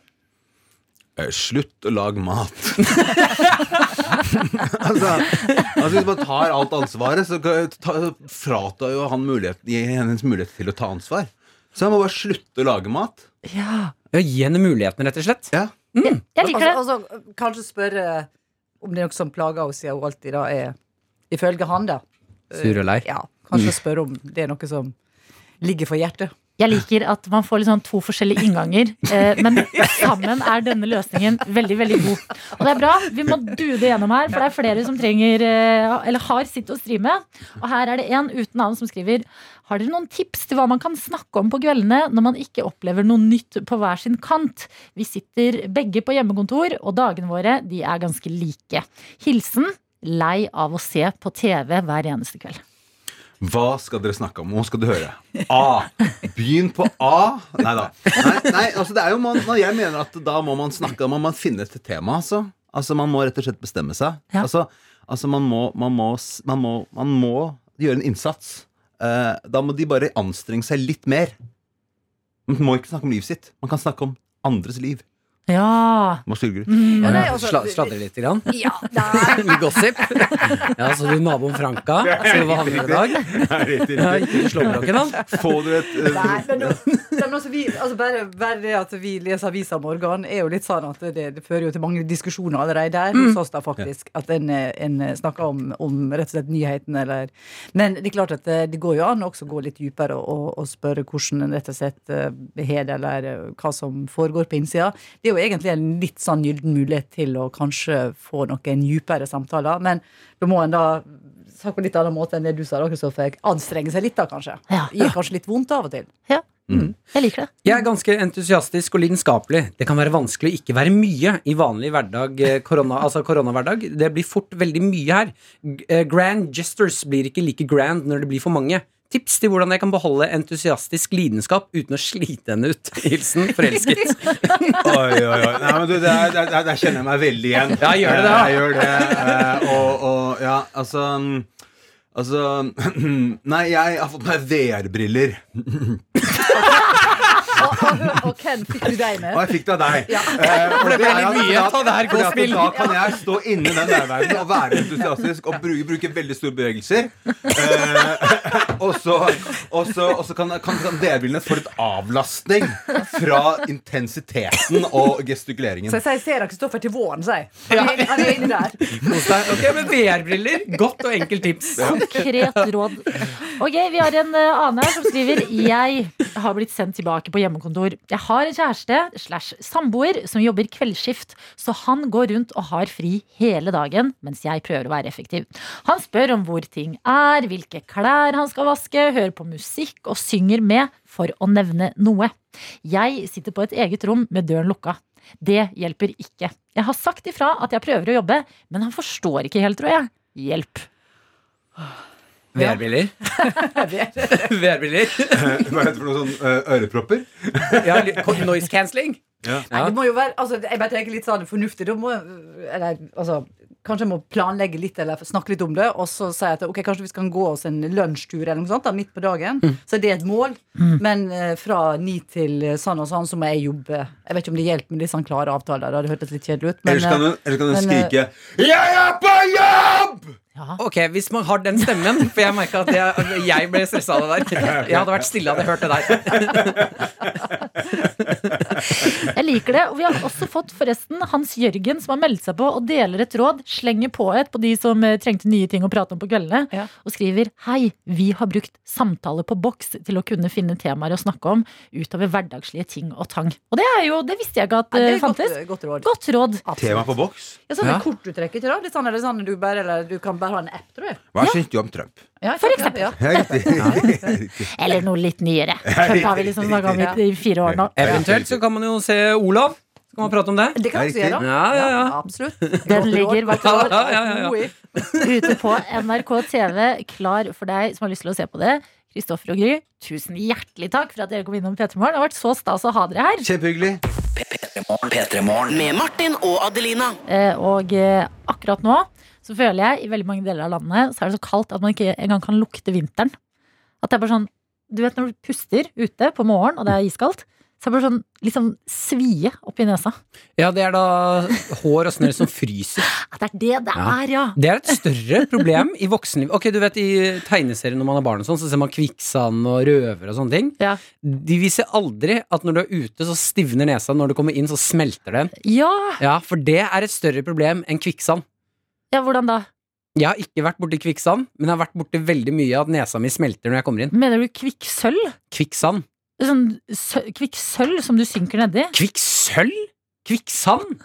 Eh, Slutt å lage mat. altså, altså, hvis man tar alt ansvaret, så kan- ta- fratar jo han mulighet, gir hennes mulighet til å ta ansvar. Så han må bare slutte å lage mat. Ja. Ja, Gi henne muligheten, rett og slett. Ja. Jeg liker det. Altså, altså, kanskje spørre om det er noe som plager henne, siden hun alltid da er Ifølge han, da. Mm. Sur og lei. Ja, kanskje spørre om det er noe som ligger for hjertet. Jeg liker at man får liksom to forskjellige innganger, eh, men sammen er denne løsningen veldig veldig god. Og det er bra. Vi må dude gjennom her, for det er flere som trenger eh, eller har sitt å stri med. Og her er det en uten navn som skriver Har dere noen tips til hva man kan snakke om på kveldene når man ikke opplever noe nytt på hver sin kant? Vi sitter begge på hjemmekontor, og dagene våre de er ganske like. Hilsen lei av å se på TV hver eneste kveld. Hva skal dere snakke om? Nå skal du høre. A. Begynn på A. Nei da. Nei, nei, altså, det er jo man, man- jeg mener at da må man snakke Man må finne et tema, altså. altså man må rett og slett bestemme seg. Ja. Altså, altså man, må, man, må, s- man, må, man må gjøre en innsats. Eh, da må de bare anstrenge seg litt mer. Man må ikke snakke om livet sitt. Man kan snakke om andres liv. Ja, Hva sier du? Ja, nei, ja. altså, Eh, Sla, sladre litt. Grann. Ja, nei. Mye gossip. Ja, så du naboen Franka. Så hva han gjør i dag? Ja, ikke slå bråken, han. Få dere et eh, Nei, men, nå- men altså, vi, altså bare, bare det at vi leser aviser om morgenen, er jo litt sånn at det, det fører jo til mange diskusjoner allerede der hos oss, da, faktisk. At en, eh, en snakker om, om rett og slett nyheten, eller Men det er klart at eh, det går jo an å også gå litt dypere og, og, og spørre hvordan en rett og slett eh, har det, eller eh, hva som foregår på innsida. Det er jo egentlig en litt sånn gylden mulighet til å kanskje få noen dypere samtaler, men da må en da sagt på en litt annen måte enn det du sa, da, Kristoffer. Anstrenge seg litt, da, kanskje. Ja. Gir kanskje litt vondt av og til. Ja. Jeg liker det. Jeg er ganske entusiastisk og lidenskapelig. Det kan være vanskelig å ikke være mye i vanlig hverdag, eh, korona, altså koronahverdag. Det blir fort veldig mye her. G- eh, Grand gestures blir ikke like grand når det blir for mange. Tips til hvordan jeg kan beholde entusiastisk lidenskap uten å slite henne ut. Hilsen forelsket. Oi, oi, oi. Nei, men du, der, der, der, der kjenner jeg meg veldig igjen. Ja, gjør det da. Eh, Jeg gjør det. eh, Og, og ja, altså mm, Altså Nei, jeg har fått meg VR-briller. Og, og, og hvem fikk du deg med? Og jeg fikk det av deg. Ja. Eh, og Det ble er veldig at- mye. Ta det her, gå fordi og at spill. Da kan jeg stå inni den nærværen og være entusiastisk og bruke, bruke veldig store bevegelser. Eh, og så, og så, og så kan, kan, kan dere få litt avlastning fra intensiteten og gestikuleringen. Så jeg sier ser dere Kristoffer til våren, sier jeg. Han er- Han er inne der. Kos deg. Ok, men VR-briller. Godt og enkelt tips. Konkret råd. Ok, Vi har en eh, annen her som skriver Jeg har blitt sendt tilbake på hjemmekontor. Jeg har en kjæreste slash samboer som jobber kveldsskift, så han går rundt og har fri hele dagen mens jeg prøver å være effektiv. Han spør om hvor ting er, hvilke klær han skal vaske, hører på musikk og synger med, for å nevne noe. Jeg sitter på et eget rom med døren lukka. Det hjelper ikke. Jeg har sagt ifra at jeg prøver å jobbe, men han forstår ikke helt, tror jeg. Hjelp. VR-briller. VR-briller. Hva heter det for noe sånn eh, ørepropper? Ja, li- noise cancelling. Nei, det må jo være, altså, jeg bare tenker litt sånn fornuftig. Da må jeg- eller, altså, Kanskje jeg må planlegge litt eller snakke litt om det. Og så si at ok, kanskje vi skal gå oss en lunsjtur eller noe sånt da, midt på dagen. Mm. Så det er et mål. Men eh, fra ni til eh, sånn og sånn så må jeg jobbe. Jeg vet ikke om det hjelper med litt sånn klare avtaler. Det hadde hørtes litt kjedelig ut. Men Ellers kan eh, hun, ellers kan hun men, eh, skrike 'Jeg er på jobb!' Ok, Hvis man har den stemmen For jeg merka at jeg, jeg ble stressa av det der. Jeg hadde vært stille, hadde hørt det der. Jeg liker det. Og vi har også fått forresten Hans Jørgen, som har meldt seg på og deler et råd. Slenger på et på de som eh, trengte nye ting å prate om på kveldene. Ja. Og skriver Hei, vi har brukt samtale på boks til å kunne finne temaer å snakke om utover hverdagslige ting og tang. Og det er jo, det visste jeg ikke at ja, det eh, er fantes. godt, godt råd. Godt råd. Tema på boks. Ja, sånn Ja. med kortuttrekk, ikke da? Litt sånn, eller sånn, du, bare, eller, du kan bare ha en app, tror jeg. Hva syns du om Trump? Ja, For eksempel. Ja. Ja, riktig. Eller noe litt nyere. Trump har vi liksom snakka om i i fire år nå. Eventuelt så kan man jo se Olav. Så kan man prate om det. Det kan vi også gjøre. Ja, ja, ja. absolutt. Den ligger hva tror du, Ja, ja, ja, ja. God i. ute på NRK TV, klar for deg som har lyst til å se på det. Kristoffer og Gry, tusen hjertelig takk for at dere kom innom P3 Morgen. Det har vært så stas å ha dere her. Kjempehyggelig. P3-morgen. Med Martin og Adelina. Eh, Og eh, akkurat nå så føler jeg i veldig mange deler av landet så er det så kaldt at man ikke engang kan lukte vinteren. At det er bare sånn Du vet når du puster ute på morgenen, og det er iskaldt, så er det bare sånn liksom svie oppi nesa. Ja, det er da hår og snørr som fryser. At det er det det Ja. er, ja. Det er et større problem i voksenlivet. Ok, du vet I tegneserier når man er barn, og sånn, så ser man kvikksand og røver og sånne ting. Ja. De viser aldri at når du er ute, så stivner nesa. Når du kommer inn, så smelter den. Ja, Ja, For det er et større problem enn kvikksand. ja hvordan da? Jeg har ikke vært borti kvikksand, men jeg har vært borti veldig mye at nesa mi smelter når jeg kommer inn. Mener du kvikksølv? Kvikksand. Sånn sø- kvikksølv som du synker nedi? Kvikksølv? Kvikksand?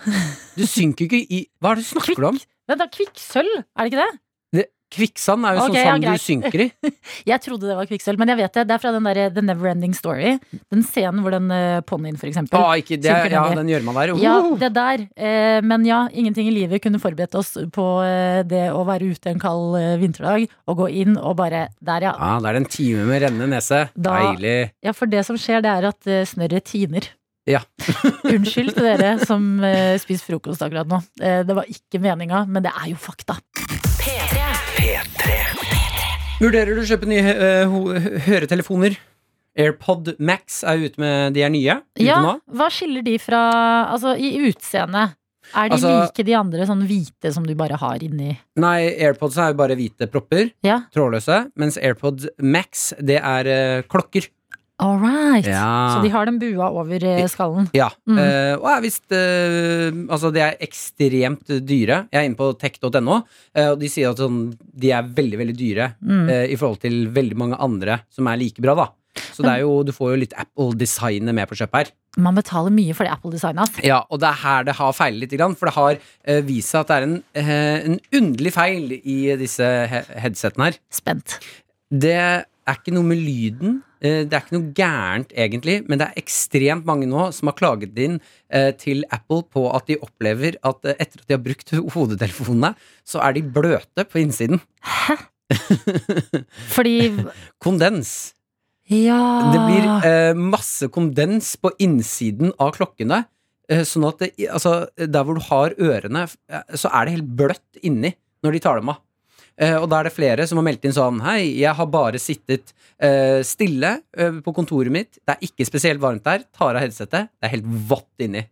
Du synker jo ikke i Hva er det du snakker om? Vent da, kvikksølv, er det ikke det? Det, kvikksand er jo Ok, sånn ja, sand greit. du synker i. Jeg trodde det var kvikksølv, men jeg vet det. Det er fra den der eh, The Neverending Story. Den scenen hvor den uh, ponnien, for eksempel. Ah, ikke det, Synker ja, ned i. den gjørma der. Ja, det der. Eh, men ja, ingenting i livet kunne forberedt oss på eh, det å være ute en kald eh, vinterdag og gå inn og bare Der, ja. Ja, det er en time med rennende nese. Da- Deilig. Ja, for det som skjer, det er at eh, snørret tiner. Ja. Unnskyld til dere som eh, spiser frokost akkurat nå. Eh, det var ikke meninga, men det er jo fakta. Vurderer du å kjøpe nye eh, ho- høretelefoner? AirPod Max er ute med de er nye. Ute nå. Ja, hva skiller de fra Altså, i utseende. Er de Altså- like de andre sånn hvite som du bare har inni Nei, AirPods er jo bare hvite propper, Ja, trådløse. Mens AirPod Max, det er eh, klokker. all right. Ja. Så de har den bua over eh, skallen. Ja. Mm. eh, og er visst eh, Altså, de er ekstremt dyre. Jeg er inne på tech.no, eh, og de sier at sånn, de er veldig, veldig dyre Mm. eh, i forhold til veldig mange andre som er like bra, da. Så det er jo, du får jo litt Apple-designet med på kjøpet her. Man betaler mye for det Apple designa. Ja, og det er her det har feilet litt, grann, for det har eh, vist seg at det er en, eh, en underlig feil i disse he headsetene her. Spent. Det er ikke noe med lyden eh, det er ikke noe gærent egentlig, men det er ekstremt mange nå som har klaget inn eh, til Apple på at de opplever at eh, etter at de har brukt hodetelefonene, så er de bløte på innsiden. Fordi Kondens. Ja Det blir Ah. eh, masse kondens på innsiden av klokkene. eh, sånn at det, altså, der hvor du har ørene, f- eh, så er det helt bløtt inni når de tar dem av. Eh, og da er det flere som har meldt inn sånn Hei, jeg har bare sittet eh, stille eh, på kontoret mitt. Det er ikke spesielt varmt der. Tar av headsetet. Det er helt vått inni.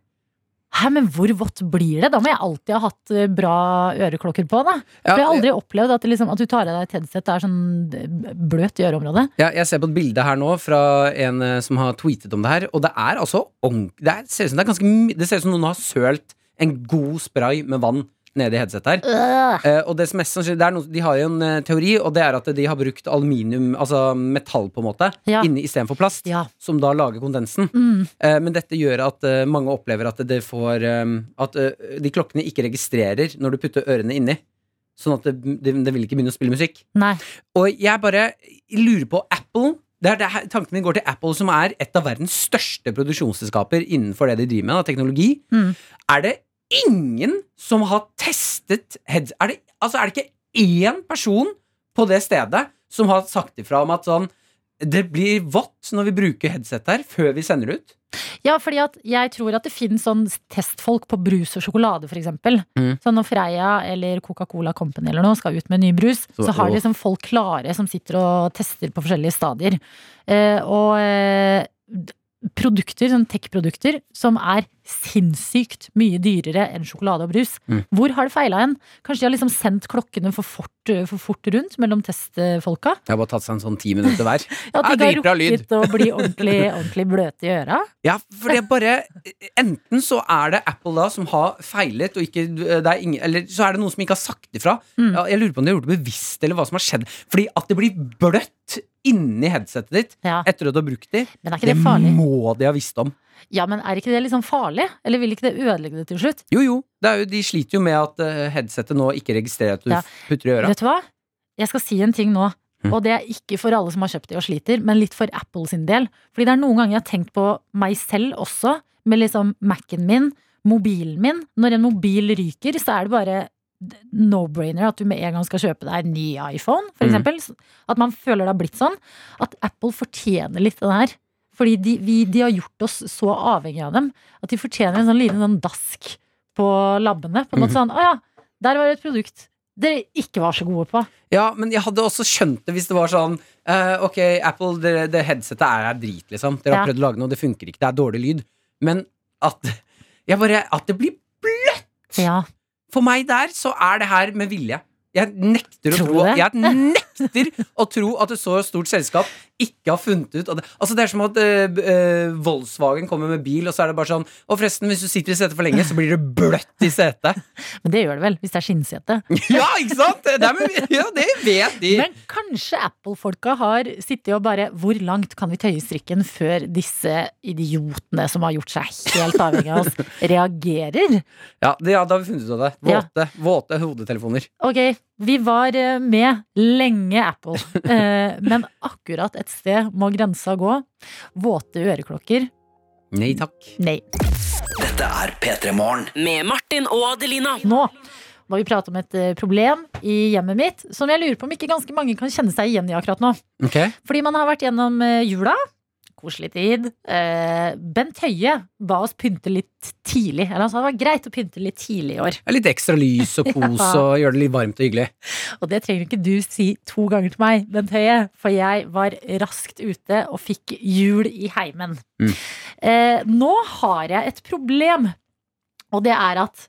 Hæ, men hvor vått blir det? Da må jeg alltid ha hatt eh, bra øreklokker på, da. Ja, For jeg har aldri opplevd at, det liksom, at du tar av deg et headset det er sånn eh, bløt i øreområdet. Ja, jeg ser på et bilde her nå fra en eh, som har tweetet om det her, og det er altså ordent- det, er, ser ut som det, er ganske, my- det ser ut som noen har sølt en god spray med vann nede i headsetet her. Eh, og det som mest sannsynlig, det er noe, De har jo en eh, teori, og det er at de har brukt aluminium, altså metall på en måte, Ja. inni istedenfor plast, som da lager kondensen. Mm. Eh, men dette gjør at eh, mange opplever at det får eh, At eh, de klokkene ikke registrerer når du putter ørene inni. Sånn at det, det, det vil ikke begynne å spille musikk. Nei. Og jeg bare lurer på Apple det er det her, Tanken min går til Apple, som er et av verdens største produksjonsselskaper innenfor det de driver med, da, teknologi. Mm. Er det ingen som har testet heads... Er det, altså, er det ikke én person på det stedet som har sagt ifra om at sånn Det blir vått når vi bruker headset her, før vi sender det ut? Ja, fordi at jeg tror at det finnes sånn testfolk på brus og sjokolade, for eksempel. Mm. Så når Freia eller Coca-Cola Company eller noe skal ut med ny brus, så, Så- har åh. de liksom folk klare som sitter og tester på forskjellige stadier. Eh, og eh, d- produkter, sånn tech-produkter, som er sinnssykt mye dyrere enn sjokolade og brus. Mm. Hvor har det feila hen? Kanskje de har liksom sendt klokkene for fort, eh, for fort rundt mellom testfolka? Jeg har bare tatt seg en sånn ti minutter hver. At de Ja, ikke dritbra har lyd. rukket å bli ordentlig, ordentlig bløte i øra? Ja, for det er bare Enten så er det Apple da som har feilet, og ikke, eh, det er ingen, eller så er det noen som ikke har sagt ifra. Mm. Ja, Jeg lurer på om de har gjort det bevisst, eller hva som har skjedd. Fordi at det blir bløtt inni headsetet ditt Ja. etter at du har brukt det, Men er ikke det farlig? må de ha visst om. Ja, men er ikke det liksom farlig? Eller vil ikke det ødelegge det til slutt? Jo, jo. Det er jo, de sliter jo med at eh, headsetet nå ikke registrerer at du Ja. putter i øra. Vet du hva? Jeg skal si en ting nå. Mm. Og det er ikke for alle som har kjøpt det og sliter, men litt for Apple sin del. Fordi det er noen ganger jeg har tenkt på meg selv også, med liksom Mac-en min, mobilen min. Når en mobil ryker, så er det bare no-brainer at du med en gang skal kjøpe deg en ny iPhone, for Mm. eksempel. At man føler det har blitt sånn. At Apple fortjener litt av det her. Fordi de, vi, de har gjort oss så avhengige av dem at de fortjener en sånn liten sånn dask på labbene. På en måte sånn Å ja, der var det et produkt dere ikke var så gode på. Ja, men jeg hadde også skjønt det hvis det var sånn eh, Ok, Apple, det, det headsetet er, er drit, liksom. Dere har Ja. prøvd å lage noe, det funker ikke, det er dårlig lyd. Men at, jeg bare, at det blir bløtt! Ja. For meg der så er det her med vilje. Jeg nekter, å Tror du tro, det? jeg nekter å tro at et så stort selskap ikke har funnet ut at det, altså Det er som at eh, b- eh, Volkswagen kommer med bil, og så er det bare sånn Og forresten, hvis du sitter i setet for lenge, så blir det bløtt i setet. Men det gjør det vel, hvis det er skinnsete. Ja, ikke sant? Det, er med, ja, det vet de. Men kanskje Apple-folka har sittet og bare Hvor langt kan vi tøye strikken før disse idiotene som har gjort seg helt avhengig av oss, reagerer? Ja, det, ja, da har vi funnet ut av det. Ja. Våte, våte hodetelefoner. Ok, vi var eh, med lenge, Apple. Eh, Men akkurat et sted må grensa gå. Våte øreklokker? Nei takk. Nei. Dette er P3 Morgen. Med Martin og Adelina. Nå må vi prate om et eh, problem i hjemmet mitt som jeg lurer på om ikke ganske mange kan kjenne seg igjen i akkurat nå. Ok, Fordi man har vært gjennom eh, jula. Koselig tid. Eh, Bent Høie ba oss pynte litt tidlig. Eller han sa det var greit å pynte litt tidlig i år. Det er Litt ekstra lys og kos Ja. og gjøre det litt varmt og hyggelig. Og det trenger ikke du si to ganger til meg, Bent Høie. For jeg var raskt ute og fikk jul i heimen. Mm. Eh, nå har jeg et problem. Og det er at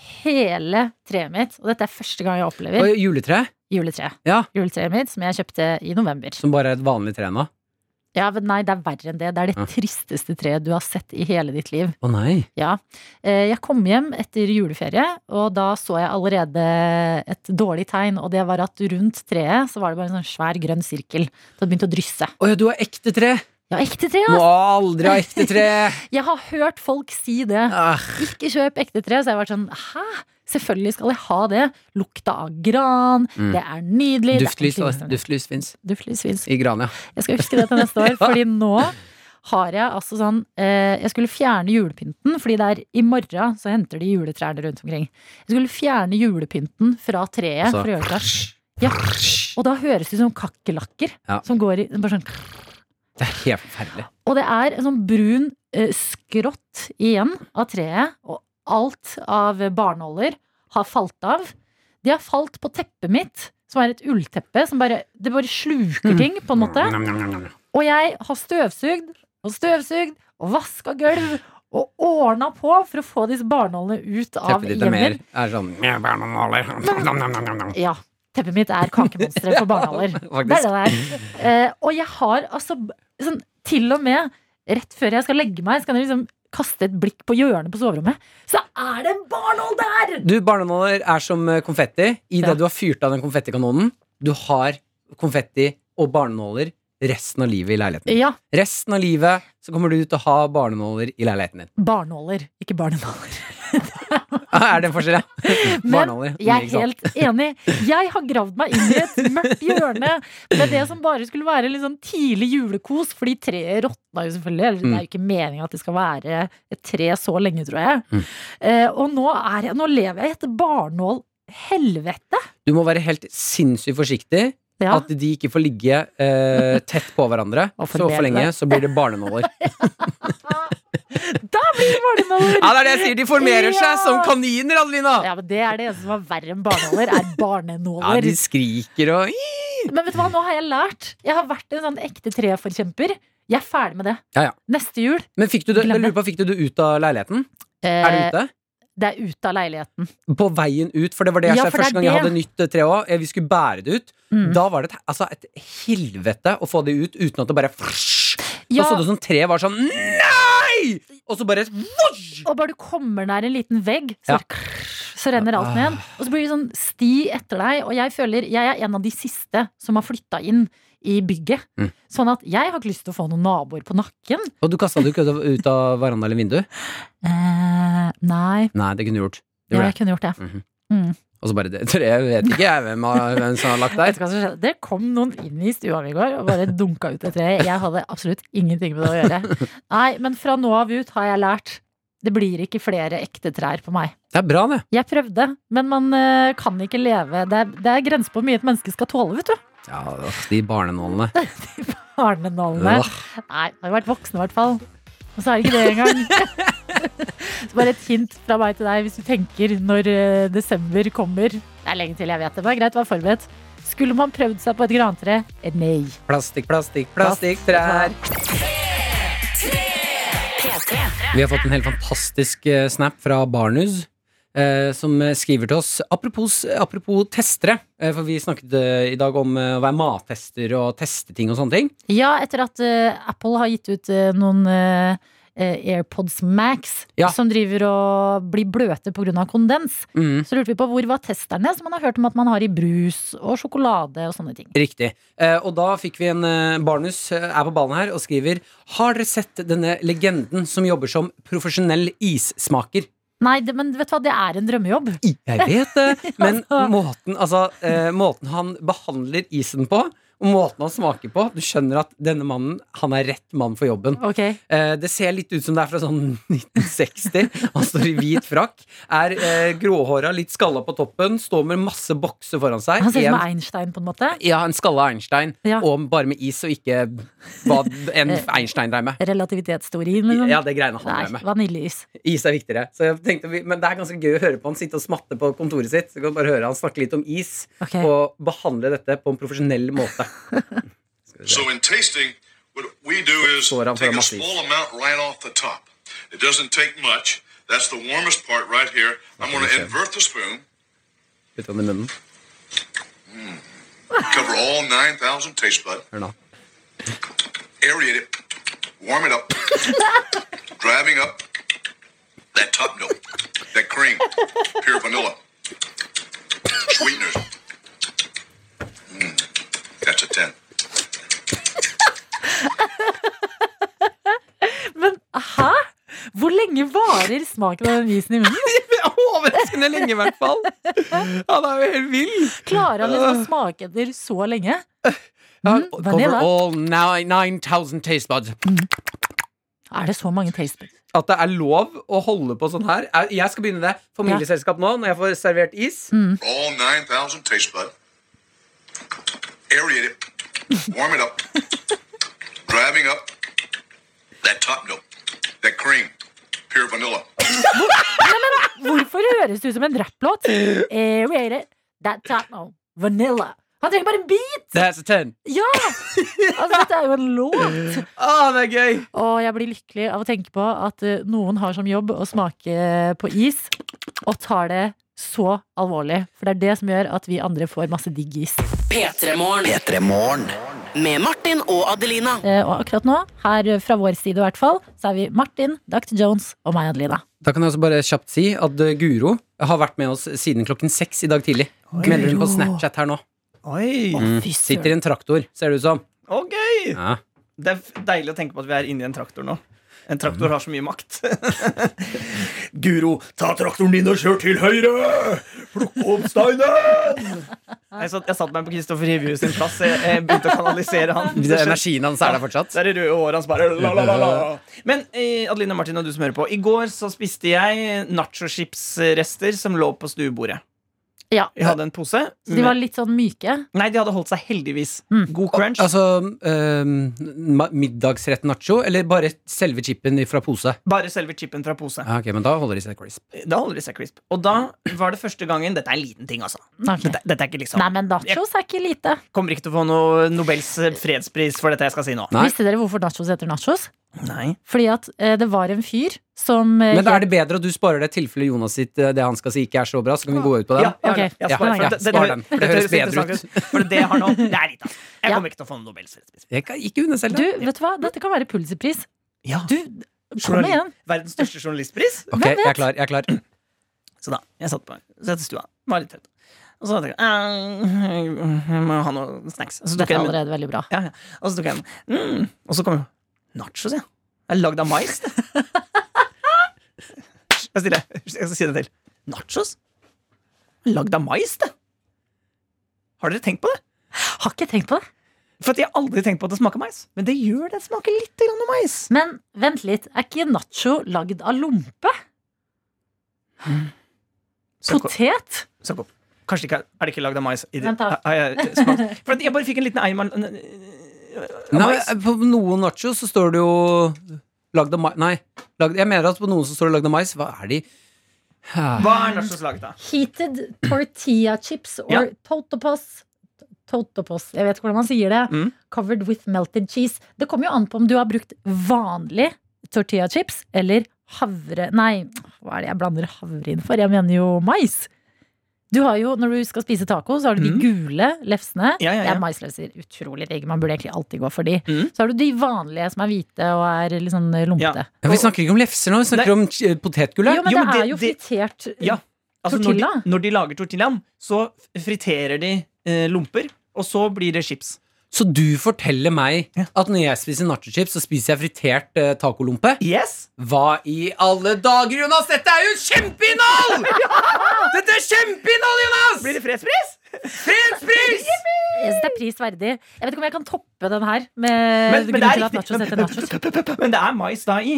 hele treet mitt, og dette er første gang jeg opplever Og juletre, juletreet, Ja. juletreet mitt som jeg kjøpte i november. som bare er et vanlig tre nå. Ja, men nei, det er verre enn det. Det er det Ja. tristeste treet du har sett i hele ditt liv. Å nei. Ja. Eh, Jeg kom hjem etter juleferie, og da så jeg allerede et dårlig tegn. Og det var at rundt treet så var det bare en sånn svær grønn sirkel. Det hadde begynt å drysse. Å ja, du har ekte tre! Ja, ekte tre, Må altså. aldri ha Ah, ekte tre! Jeg har hørt folk si det. Ikke kjøp ekte tre. Så jeg har vært sånn hæ? Selvfølgelig skal jeg ha det. Lukta av gran. Mm. Det er nydelig. det er Duftlys, ordentlig da. duftlys fins. Duftlys fins. I Grania. Jeg skal huske det til neste år, fordi nå har jeg altså sånn eh, Jeg skulle fjerne julepynten, fordi det er i morgen så henter de juletrærne rundt omkring. Jeg skulle fjerne julepynten fra treet Altså, for å gjøre det. Ja. Og da høres det ut som kakerlakker Ja. som går i bare sånn, Det er helt forferdelig. Og det er en sånn brun eh, skrått igjen av treet, og alt av barnåler har falt av. De har falt på teppet mitt, som er et ullteppe som bare, det bare sluker ting, på en måte. Og jeg har støvsugd og støvsugd og vaska gulv og ordna på for å få disse barnålene ut av Teppet ditt er mer hjemmer. er sånn Ja, teppet mitt er kakemonsteret for barnåler. Det er det det er. Eh, og jeg har altså b- sånn, til og med rett før jeg skal legge meg, så kan jeg liksom kaste et blikk på hjørnet på soverommet. Så er det en barnål der! Du, barnenåler er som eh, konfetti. I det du har fyrt av den konfettikanonen, du har konfetti og barnenåler resten av livet i leiligheten. Ja, Resten av livet så kommer du til å ha barnenåler i leiligheten din. barnåler, ikke barnenåler. Ah, Er det en forskjell, ja? Barnenåler. Jeg er ikke sant? helt enig. Jeg har gravd meg inn i et mørkt hjørne med det som bare skulle være litt sånn tidlig julekos, fordi treet råtna jo selvfølgelig. Eller Mm. Det er jo ikke meninga at det skal være et tre så lenge, tror jeg. Mm. Eh, og nå, er jeg, nå lever jeg i et barnål-helvete. Du må være helt sinnssykt forsiktig. Ja. At de ikke får ligge eh, tett på hverandre. Og Så for formere. lenge så blir det barnenåler. Da blir det barnåler! Ja, det er det jeg sier! De formerer seg som kaniner, Adelina! Ja, men Det er det eneste som er verre enn barnåler, er Ja, barnenåler. de skriker og Men vet du hva, nå har jeg lært. Jeg har vært en sånn ekte treforkjemper. Jeg er ferdig med det. Ja, ja. Neste jul Men fikk du det, Glem jeg det. lurer på, fikk du det ut av leiligheten? Er det eh, ute? Det er ute av leiligheten. På veien ut, for det var det jeg Ja, sa for det er første gang jeg det. hadde nytt eh, tre òg. Vi skulle bære det ut. Mm. Da var det et- altså, et helvete å få det ut uten at det bare frsh. Da Ja. så det ut som treet var sånn Nei! Og så bare vosj! Og bare du kommer nær en liten vegg, så, Ja. bare krrr, så renner alt ned. Og så blir det sånn sti etter deg. Og jeg føler jeg er en av de siste som har flytta inn i bygget. Mm. Sånn at jeg har ikke lyst til å få noen naboer på nakken. Og du kasta det ikke ut av- ut av veranda eller vindu? Eh, nei, Nei, det kunne du gjort. Du ja, gjorde jeg det. kunne gjort det. Og så bare det treet vet ikke jeg hvem, har- hvem som har lagt Vet der. du hva som skjedde? Det kom noen inn i stua mi i går og bare dunka ut et tre. Jeg hadde absolutt ingenting med det å gjøre. Nei, men fra nå av ut har jeg lært. Det blir ikke flere ekte trær på meg. Det er bra, det. Jeg prøvde, men man eh, kan ikke leve Det er, det er grenser på hvor mye et menneske skal tåle, vet du. Ja, åh, de barnenålene. Barnenålene. Åh. Nei, har jo vært voksne i hvert fall. Og så er det ikke det engang. så bare et hint fra meg til deg hvis du tenker når eh, desember kommer. Det er lenge til jeg vet det, men det er greit å være forberedt. Skulle man prøvd seg på et grantre? Eh, Nei. Plastikk, plastikk, plastikk, trær. Vi har fått en helt fantastisk eh, snap fra Barnus. eh, som eh, skriver til oss Apropos, apropos testere, eh, for vi snakket eh, i dag om eh, å være mattester og teste ting og sånne ting. Ja, etter at eh, Apple har gitt ut eh, noen eh, eh, AirPods Max Ja. som driver og blir bløte pga. kondens, Mm. så lurte vi på hvor var testerne som man har hørt om at man har i brus og sjokolade og sånne ting. Riktig. Eh, og da fikk vi en eh, Barnus eh, er på ballen her og skriver Har dere sett denne legenden som jobber som profesjonell issmaker? Nei, det, men vet du hva, det er en drømmejobb. Jeg vet det, men måten, altså, eh, måten han behandler isen på, og måten han smaker på Du skjønner at denne mannen han er rett mann for jobben. Ok. Eh, det ser litt ut som det er fra sånn 1960. Han står i hvit frakk, er eh, gråhåra, litt skalla på toppen, står med masse bokser foran seg. Han ser ut som En- Einstein, på en måte. ja, en skalla Einstein, Ja. og bare med is og ikke hva en Einstein dreier med. Relativitetsteorien, liksom. Ja, det greiene han Nei, dreier med. vaniljeis. Is er viktigere. Så jeg tenkte, vi- men det er ganske gøy å høre på han sitte og smatte på kontoret sitt. Så kan du bare høre han snakke litt om is, Ok. og behandle dette på en profesjonell måte. So in tasting, what we do is Sort out take for a the small amount right off the top. It doesn't take much. That's the warmest part right here. I'm going to invert the spoon, Putte han i munnen. cover all 9,000 taste bud, Hør nå. aerate it, warm it up, driving up that top note, that cream, pure vanilla, sweeteners. Mm, that's a 10. Hvor lenge varer smaken av den isen i munnen? Overraskende lenge, i hvert fall. Han er jo helt vill. Klarer han liksom å smake etter så lenge? Mm, Over vanilla. all ni- 9000 taste buds. Er det så mange taste buds? At det er lov å holde på sånn her. Jeg- Jeg skal begynne det. Familieselskap nå, når jeg får servert is. Mm. All 9,000 taste bud. Aerate it. Warm it up. Driving up that top note, that cream, pure vanilla. Hvor, nei, men, hvorfor høres det ut som en rapplåt? Aerate it. That top no. Vanilla. Han trenger bare en bit! That's a 10. Ja! Altså, dette er jo en låt. det er gøy. Og jeg blir lykkelig av å tenke på at eh, noen har som jobb å smake på is, og tar det så alvorlig. For det er det som gjør at vi andre får masse digg is. P3-morgen. Med Martin og Adelina. Eh, Og akkurat nå, her eh, fra vår side i hvert fall, så er vi Martin, Dr. Jones og meg, Adelina. Da kan jeg også bare kjapt si at eh, Guro har vært med oss siden klokken seks i dag tidlig. Melder hun på Snapchat her nå. Oi. Mm. Sitter i en traktor, ser det ut som. Å, gøy! Ja. Det er f- deilig å tenke på at vi er inni en traktor nå. En traktor har så mye makt. Guro, ta traktoren din og kjør til høyre! Plukk opp steinen! Jeg, satt, jeg satt meg på Kristoffer Hivju sin plass. Jeg, jeg begynte å kanalisere han. Det er Energien hans er der fortsatt. Det er det røde håret hans bare la, la, la, la. Men eh, Adeline Martin og du som hører på, i går så spiste jeg nachoschips-rester som lå på stuebordet. Ja. Jeg hadde en pose. Så de var Mm. litt sånn myke. Nei, de hadde holdt seg heldigvis. God crunch. Altså ehm, ma- middagsrett nacho, eller bare selve chipen fra pose? Bare selve chipen fra pose. Ja, ok, men da holder de seg crisp. Da holder de seg crisp. Og da var det første gangen Dette er en liten ting, altså. Ok. Dette, dette er ikke liksom Nei, men nachos er ikke lite. Jeg kommer ikke til å få noe Nobels eh, fredspris for dette jeg skal si nå. Visste dere hvorfor nachos heter nachos? Nei. Fordi at eh, det var en fyr som eh, Men da er det bedre at du sparer det i tilfelle Jonas sitt eh, det han skal si, ikke er så bra. Så kan vi gå ut på den. Ja, ja, Ok. ja, spar, for Ja, det, det, spar den. For det høres bedre interessant ut. For det jeg har nå, det er litt av. Jeg kommer ikke til å få noen Nobels fredspris. Jeg kan ikke unne selv Du, vet du hva? Dette kan være Pulitzerpris. Ja. Du, kom Journali- igjen. Verdens største journalistpris. Ok, jeg er klar. Jeg er klar. Så da, jeg satt på så jeg satt i stua. Var litt trøtt. Og så tenkte jeg «Eh, Jeg må ha noe snacks. Og så tok Dette er jeg en- allerede veldig bra. Ja, ja. Og så tok jeg en mm. Og så kom jo nachos, ja. Jeg er lagd av mais. det. Jeg stiller. Jeg skal si det til. Nachos? Lagd av mais, det. Har dere tenkt på det? Har ikke tenkt på det. For at jeg har aldri tenkt på at det smaker mais. Men det gjør det. det smaker litt grann av mais. Men vent litt, er ikke nacho lagd av lompe? Søk opp. Potet? Søk opp. Kanskje det ikke er, er det ikke lagd av mais? i det- Vent da. Har jeg smakt? For at jeg bare fikk en liten eim av av Nei, mais. på noen nachos så står det jo lagd av mais Nei. Lagd, jeg mener at på noen så står det lagd av mais. Hva er de? Ah, Hva er nachos laget av? Heated tortilla chips or Ja. totopos. Totopos, jeg vet ikke hvordan man sier det. Mm. Covered with melted cheese. Det kommer jo an på om du har brukt vanlig tortilla chips eller havre Nei, hva er det jeg blander havre inn for? Jeg mener jo mais. Du har jo, Når du skal spise taco, så har du de Mm. gule lefsene. Ja, ja, Det ja. er maislefser. Utrolig digg. Man burde egentlig alltid gå for de. Mm. Så har du de vanlige som er hvite og er litt sånn Ja. lompete. ja, vi snakker ikke om lefser nå, vi snakker Nei. om eh, potetgullet. Jo, men Jo, det, men det- er jo det- fritert Ja, altså når de, Tortilla? når de lager tortillaen, så friterer de eh, lomper, og så blir det chips. Så du forteller meg Ja. at når jeg spiser nachochips, så spiser jeg fritert eh, tacolompe? Yes! Hva i alle dager, Jonas? Dette er jo kjempeinnhold! Dette er kjempeinnhold, Jonas! Blir det fredspris? fredspris? Jeg synes det er prisverdig. Jeg vet ikke om jeg kan toppe den her. Med grunnen til at nachos heter nachos. men, men det er mais da i.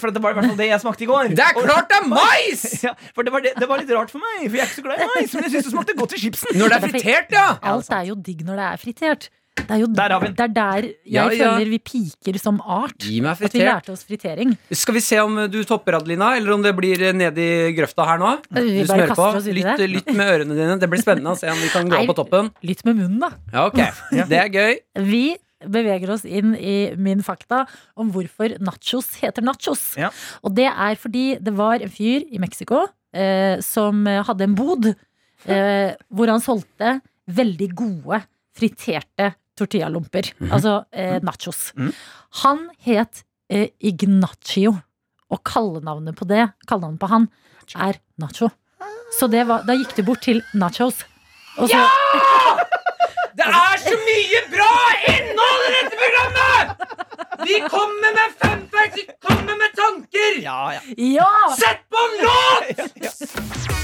For det var i hvert fall det jeg smakte i går. Det er klart det er mais! Og- Ja, for det var, det, det var litt rart for meg, for jeg er ikke så glad i mais. Men jeg syns det smakte godt i chipsen. Når det er fritert, ja! Alt er jo digg når det er fritert. Det er jo Der har vi den. det er der jeg Ja, ja. føler vi piker som art. Gi meg At vi fritert. lærte oss fritering. Skal vi se om du topper, Adelina, eller om det blir eh, ned i grøfta her nå? Vi Du bare smører på. kaster oss ut i Lytt, det. lytt med ørene dine. Det blir spennende å se om vi kan gå Nei. på toppen. Litt med munnen, da. Ja, ok. Det er gøy. Vi beveger oss inn i min fakta om hvorfor nachos heter nachos. Ja. Og det er fordi det var en fyr i Mexico eh, som hadde en bod eh, hvor han solgte veldig gode friterte tortillalomper. Altså eh, nachos. Mhm. Han het eh, Ignacio, og kallenavnet på det, kallenavnet på han, er Nacho. Så det var, da gikk det bort til nachos. Og så, Det er så mye bra innhold i dette programmet! Vi kommer med fun facts, vi kommer med tanker! Ja, ja. Ja! Sett på en låt!